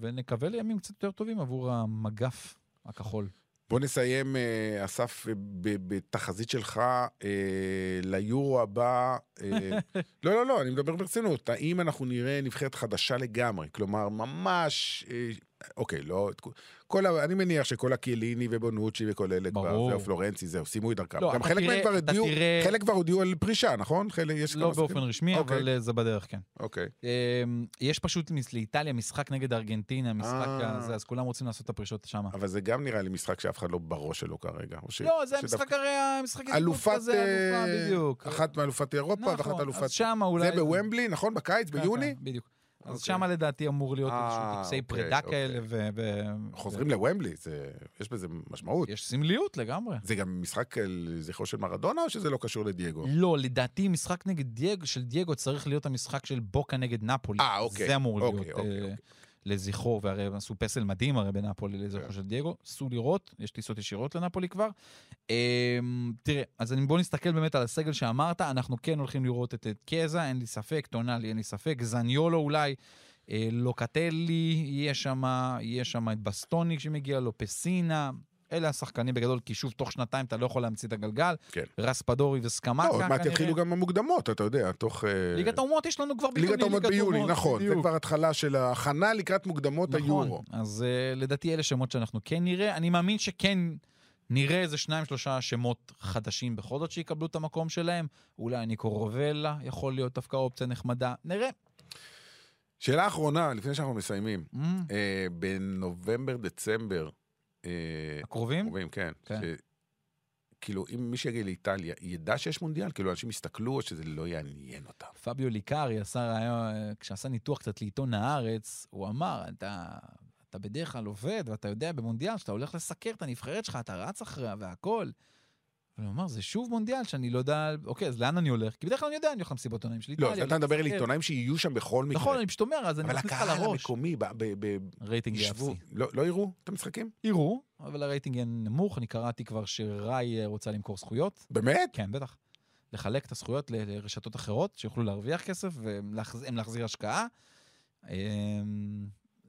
ונקווה לימים קצת יותר טובים עבור המגף הכחול.
בוא נסיים, אה, אסף, אה, ב- בתחזית שלך אה, ליורו הבא.
<laughs>
אה, לא, לא, לא, אני מדבר ברצינות. האם אנחנו נראה נבחרת חדשה לגמרי? כלומר, ממש... אה, אוקיי, לא... את כו- כל ה... אני מניח שכל הקיליני ובונוצ'י וכל אלה כבר,
ברור.
זהו, פלורנצי, זהו, סיימו את דרכם.
לא,
גם
אתה
חלק
תראה-
מהם כבר
אתה
הודיעו,
תראה-
חלק כבר הודיעו על פרישה, נכון? חלק, יש
לא
כמה
באופן
שכן?
רשמי,
אוקיי.
אבל אה, זה בדרך, כן.
אוקיי.
אמ, יש פשוט מס- לאיטליה משחק נגד ארגנטינה, משחק
אה.
הזה, אז כולם רוצים לעשות את הפרישות שם.
אבל זה גם נראה לי משחק שאף אחד לא בראש שלו כרגע. או ש-
לא, זה
שדווקא-
המשחק הרי, המשחק ידידות
אלופת...
כזה, אלופה,
אה,
בדיוק.
אחת מאלופת אירופה ואחת
נכון,
אלופת...
אז שמה אולי...
זה בוומבלי, נכון? בקיץ,
כן,
ביוני?
כן, בדיוק. אז
אוקיי.
שמה לדעתי אמור להיות
אה,
איזשהו טקסי
אוקיי,
פרידה
אוקיי.
כאלה, ו- ו...
חוזרים לוומבלי, זה- יש בזה משמעות.
יש סמליות לגמרי.
זה גם משחק אה, לזכרו של מרדונה, או שזה לא קשור לדייגו?
לא, לדעתי משחק נגד דייגו, של דייגו צריך להיות המשחק של בוקה נגד נפולי.
אה, אוקיי.
לא, זה אמור
אוקיי,
להיות
אוקיי,
אה,
אוקיי.
לזכרו, והרי הם עשו פסל מדהים הרי בנפולי
כן.
לזכרו של דייגו. סעו לראות, יש טיסות ישירות לנפולי כבר. אה, תראה, אז אני- בוא נסתכל באמת על הסגל שאמרת, אנחנו כן הולכים לראות את את קזע, אין לי ספק, טונאלי, אין לי ספק, זניולו אולי. אה, לוקטלי, יהיה שם, יהיה שם את בסטוני שמגיע לו, פסינה, אלה השחקנים בגדול, כי שוב, תוך שנתיים אתה לא יכול להמציא את הגלגל.
כן.
רספדורי וסקמטה
לא, עוד מעט
כנראה.
יתחילו גם המוקדמות, אתה יודע, תוך... אה,
ליגת האומות יש לנו כבר ביוני.
ליגת האומות ביוני, נכון. זה
בדיוק.
כבר התחלה של ההכנה לקראת מוקדמות
נכון.
היורו.
אז אה, לדעתי אלה שמות שאנחנו כן נראה. אני מאמין שכן נראה איזה שניים, שלושה שמות חדשים בכל זאת שיקבלו את המקום שלהם. אולי ניקו רובלה יכול להיות דווקא אופציה נחמדה. נראה.
שאלה אחרונה, לפני שאנחנו מסיימים.
Mm,
אה, בנובמבר, דצמבר, אה,
הקרובים?
קרובים, כן.
כן.
ש- כאילו, אם מי שיגיע לאיטליה ידע שיש מונדיאל, כאילו, אנשים יסתכלו או שזה לא יעניין אותם.
פביו ליקארי עשה רעיון, אה, כשעשה ניתוח קצת לעיתון הארץ, הוא אמר, אתה, אתה בדרך כלל עובד, ואתה יודע במונדיאל שאתה הולך לסקר את הנבחרת שלך, אתה רץ אחריה והכול. אבל הוא אמר, זה שוב מונדיאל שאני לא יודע, אוקיי, אז לאן אני הולך? כי בדרך כלל אני יודע, אני הולך למסיבות עונאים של
לא,
איטליה.
אז אתה מדבר על
לסקר.
עיתונאים שיהיו שם בכל מקרה.
נכון, אני פשוט אומר, אז אני
אבל
מכניס לך
הקהל
לראש.
המקומי, ב- ב- ב-
רייטינג
ישבו,
יפסי.
לא לא יראו את המשחקים?
יראו, אבל הרייטינג יהיה נמוך, אני קראתי כבר שריי אה, רוצה למכור זכויות.
באמת?
כן, בטח. לחלק את הזכויות ל- לרשתות אחרות, שיוכלו להרוויח כסף והם להחזיר השקעה. אמ,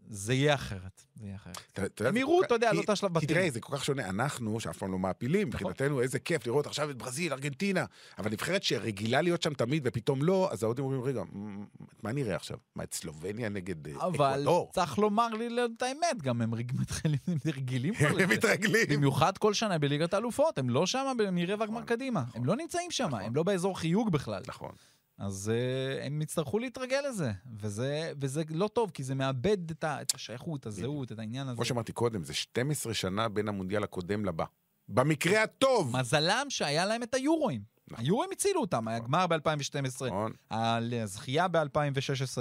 זה יהיה אחרת, זה יהיה אחרת.
אתה- אתה יודע,
הם
זה
יראו,
כל
אתה
כך-
יודע,
כי-
לא את השלב
כי
בתים.
תראה, זה כל כך שונה. אנחנו, שאף פעם לא מעפילים,
נכון.
מבחינתנו איזה כיף לראות עכשיו את ברזיל, ארגנטינה. אבל נבחרת שרגילה להיות שם תמיד ופתאום לא, אז ההודים אומרים, רגע, מ- מה נראה עכשיו? מה, את סלובניה נגד אה,
אבל
אקוודור?
צריך לומר לי לא- את האמת, גם הם רג- מתחילים- הם רגילים כבר
הם
לזה.
מתרגלים.
במיוחד כל שנה בליגת האלופות, הם לא שם ב- מרבע גמר קדימה. הם לא נמצאים שם, הם לא באזור חיוג בכלל.
נכון.
אז אה, הם יצטרכו להתרגל לזה, וזה- וזה לא טוב, כי זה מאבד את ה- את השייכות, את הזהות, את העניין הזה.
כמו שאמרתי קודם, זה 12 שנה בין המונדיאל הקודם לבא. במקרה הטוב!
מזלם שהיה להם את היורואים.
נכון.
היורואים הצילו אותם, היה גמר ב-2012,
נכון.
הזכייה ב-2016,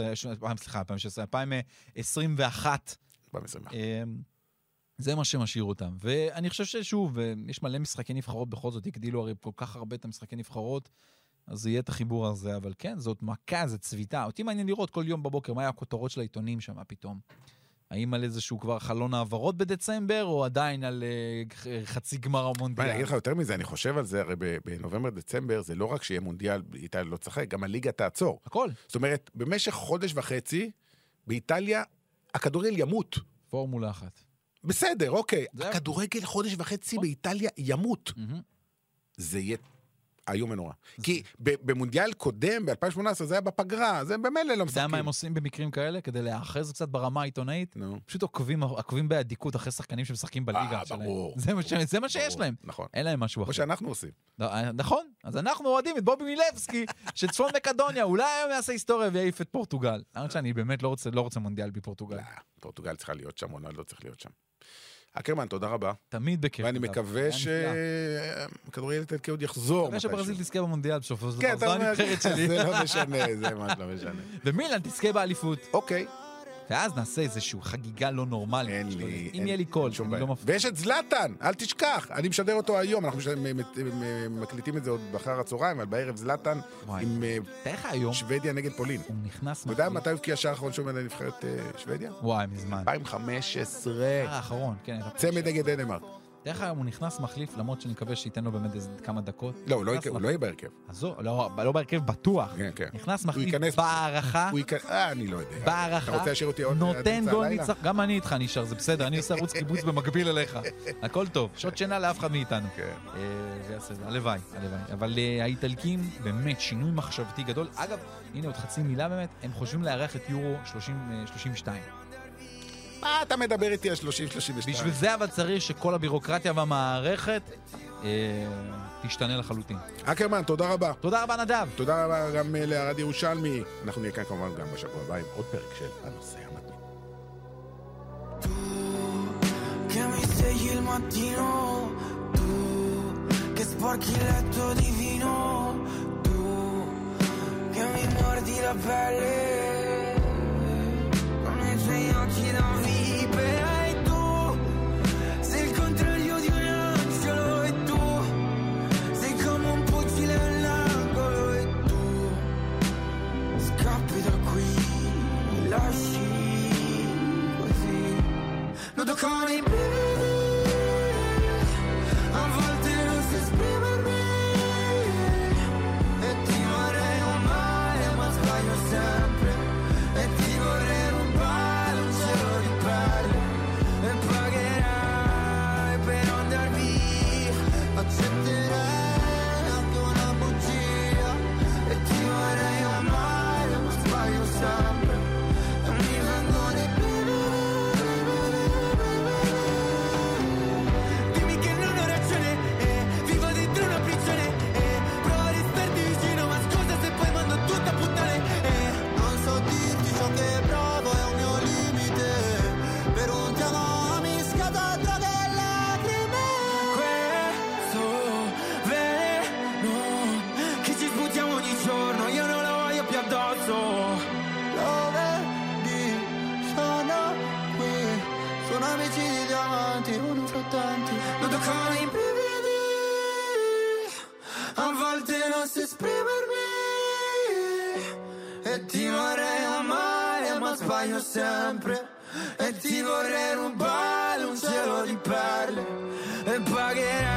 אה, סליחה, 2016, 2021.
2021.
אמ, זה מה שמשאיר אותם. ואני חושב ששוב, אה, יש מלא משחקי נבחרות בכל זאת, הגדילו הרי כל כך הרבה את המשחקי נבחרות, אז יהיה את החיבור הזה, אבל כן, זאת מכה, זאת צביטה. אותי מעניין לראות כל יום בבוקר מה היה הכותרות של העיתונים שם פתאום. האם על איזשהו כבר חלון העברות בדצמבר, או עדיין על אה, חצי גמר
מה, אני
המונדיאל?
אגיד לך יותר מזה, אני חושב על זה, הרי ב- בנובמבר, דצמבר, זה לא רק שיהיה מונדיאל, איטליה לא תשחק, גם הליגה תעצור.
הכל.
זאת אומרת, במשך חודש וחצי, באיטליה, הכדורגל ימות.
פורמולה אחת.
בסדר, אוקיי.
זה-
הכדורגל חודש וחצי
נכון.
באיטליה ימות.
מהמם.
זה יהיה איום ונורא. כי ב- במונדיאל קודם, ב-2018, זה היה בפגרה, זה במילא לא
אתה יודע
משחקים.
מה הם עושים במקרים כאלה? כדי להיאחז קצת ברמה העיתונאית?
נו.
פשוט עוקבים, עוקבים באדיקות אחרי שחקנים שמשחקים בליגה
אה,
שלהם.
ברור,
זה מה ש- זה מה שיש
ברור,
להם.
נכון.
אין להם משהו
כמו
אחר.
שאנחנו עושים.
לא, אה, נכון, אז אנחנו אוהדים את בובי מילבסקי של צפון מקדוניה, אולי היום יעשה היסטוריה ויעיף את פורטוגל. למרות שאני באמת לא רוצה- לא רוצה מונדיאל בלי פורטוגל.
לא, פורטוגל צריכה להיות שם, רונלדו צריך להיות שם. אקרמן, תודה רבה.
תמיד בכיף.
ואני
אגב.
מקווה
היה
ש-
נפלא.
כדורגל איטלקי עוד יחזור.
מקווה שברזיל
מתישהו.
תזכה במונדיאל בסופו של
כן, <laughs> אתה
דבר, זו
אומר,
הנבחרת שלי. <laughs>
זה לא משנה, זה ממש לא משנה.
ומילן תזכה באליפות.
אוקיי.
ואז נעשה איזושהי חגיגה לא נורמלית.
אין
שאתה יודע,
לי...
אם
אין-
יהיה לי קול,
שום
אני
בעיה.
לא מפריע.
ויש את זלאטן, אל תשכח, אני משדר אותו היום, אנחנו משדר- מ- מ- מ- מקליטים את זה עוד באחר הצהריים, אבל בערב זלאטן
וואי.
עם אה,
תאר לך היום,
שוודיה נגד פולין.
הוא נכנס...
אתה יודע
מחליף.
מתי הוא הבקיע שער האחרון שהוא מנהל נבחרת אה, שוודיה?
וואי, מזמן.
2015.
האחרון, כן.
אה, צמד נגד דנמרק.
דרך אגב, הוא נכנס מחליף, למרות שאני מקווה שייתן לו באמת איזה כמה דקות.
לא, הוא לא
נכנס
יק- הוא
מח-
לא יהיה בהרכב.
עזוב, לא, לא בהרכב בטוח.
כן, כן.
נכנס
הוא
מחליף
ייכנס-
בהערכה,
הוא ייכנס... אה, אני לא יודע.
בהערכה,
אתה רוצה להשאיר אותי עוד עד
נותן
אמצע
גול
הלילה?
ניצח, גם אני איתך נשאר, זה בסדר, אני עושה ערוץ קיבוץ במקביל
<laughs>
אליך. הכל טוב, שעות שינה לאף אחד מאיתנו.
כן.
אה, זה יעשה- הלוואי, הלוואי. אבל אה, האיטלקים, באמת, שינוי מחשבתי גדול. אגב, הנה עוד חצי מילה באמת, הם חושבים לארח את יורו 30, אה, 32.
מה אתה מדבר איתי על 30-32?
בשביל זה אבל צריך שכל הבירוקרטיה והמערכת אה, תשתנה לחלוטין.
אקרמן, תודה רבה.
תודה רבה, נדב.
תודה רבה גם אה, לארד ירושלמי. אנחנו נהיה כאן כמובן גם בשבוע הבא עם עוד פרק של הנושא המתמיד.
che mi svegli il mattino, tu che sporchi il letto di vino, tu che mi mordi la pelle, con i tuoi occhi da vipera e tu sei il contrario di un angelo e tu sei come un pugile all'angolo e tu scappi da qui, mi lasci così. Non toccano i miei, a volte non si esprimermi E ti vorrei un male ma sbaglio sempre E ti vorrei rubare un cielo di pelle E pagherai per andar via Accetterai anche una bugia E ti vorrei un male ma sbaglio sempre E mi vengo di Dimmi che non ho ragione, eh, vivo dentro una prigione, eh, provo a restarti vicino, ma scusa se poi mando tutta a puttane, eh. Non so dirti ciò che provo, è un mio limite, per un piano mi scatta droga e lacrime. Questo veleno che ci sbuttiamo ogni giorno, io non lo voglio più addosso. Lo vedi, sono qui, sono amici di diamanti, uno fra tanti. Non toccano i brividi, a volte non si esprimermi. E ti vorrei amare, ma sbaglio sempre. E ti vorrei rubare un cielo di perle. E pagherai.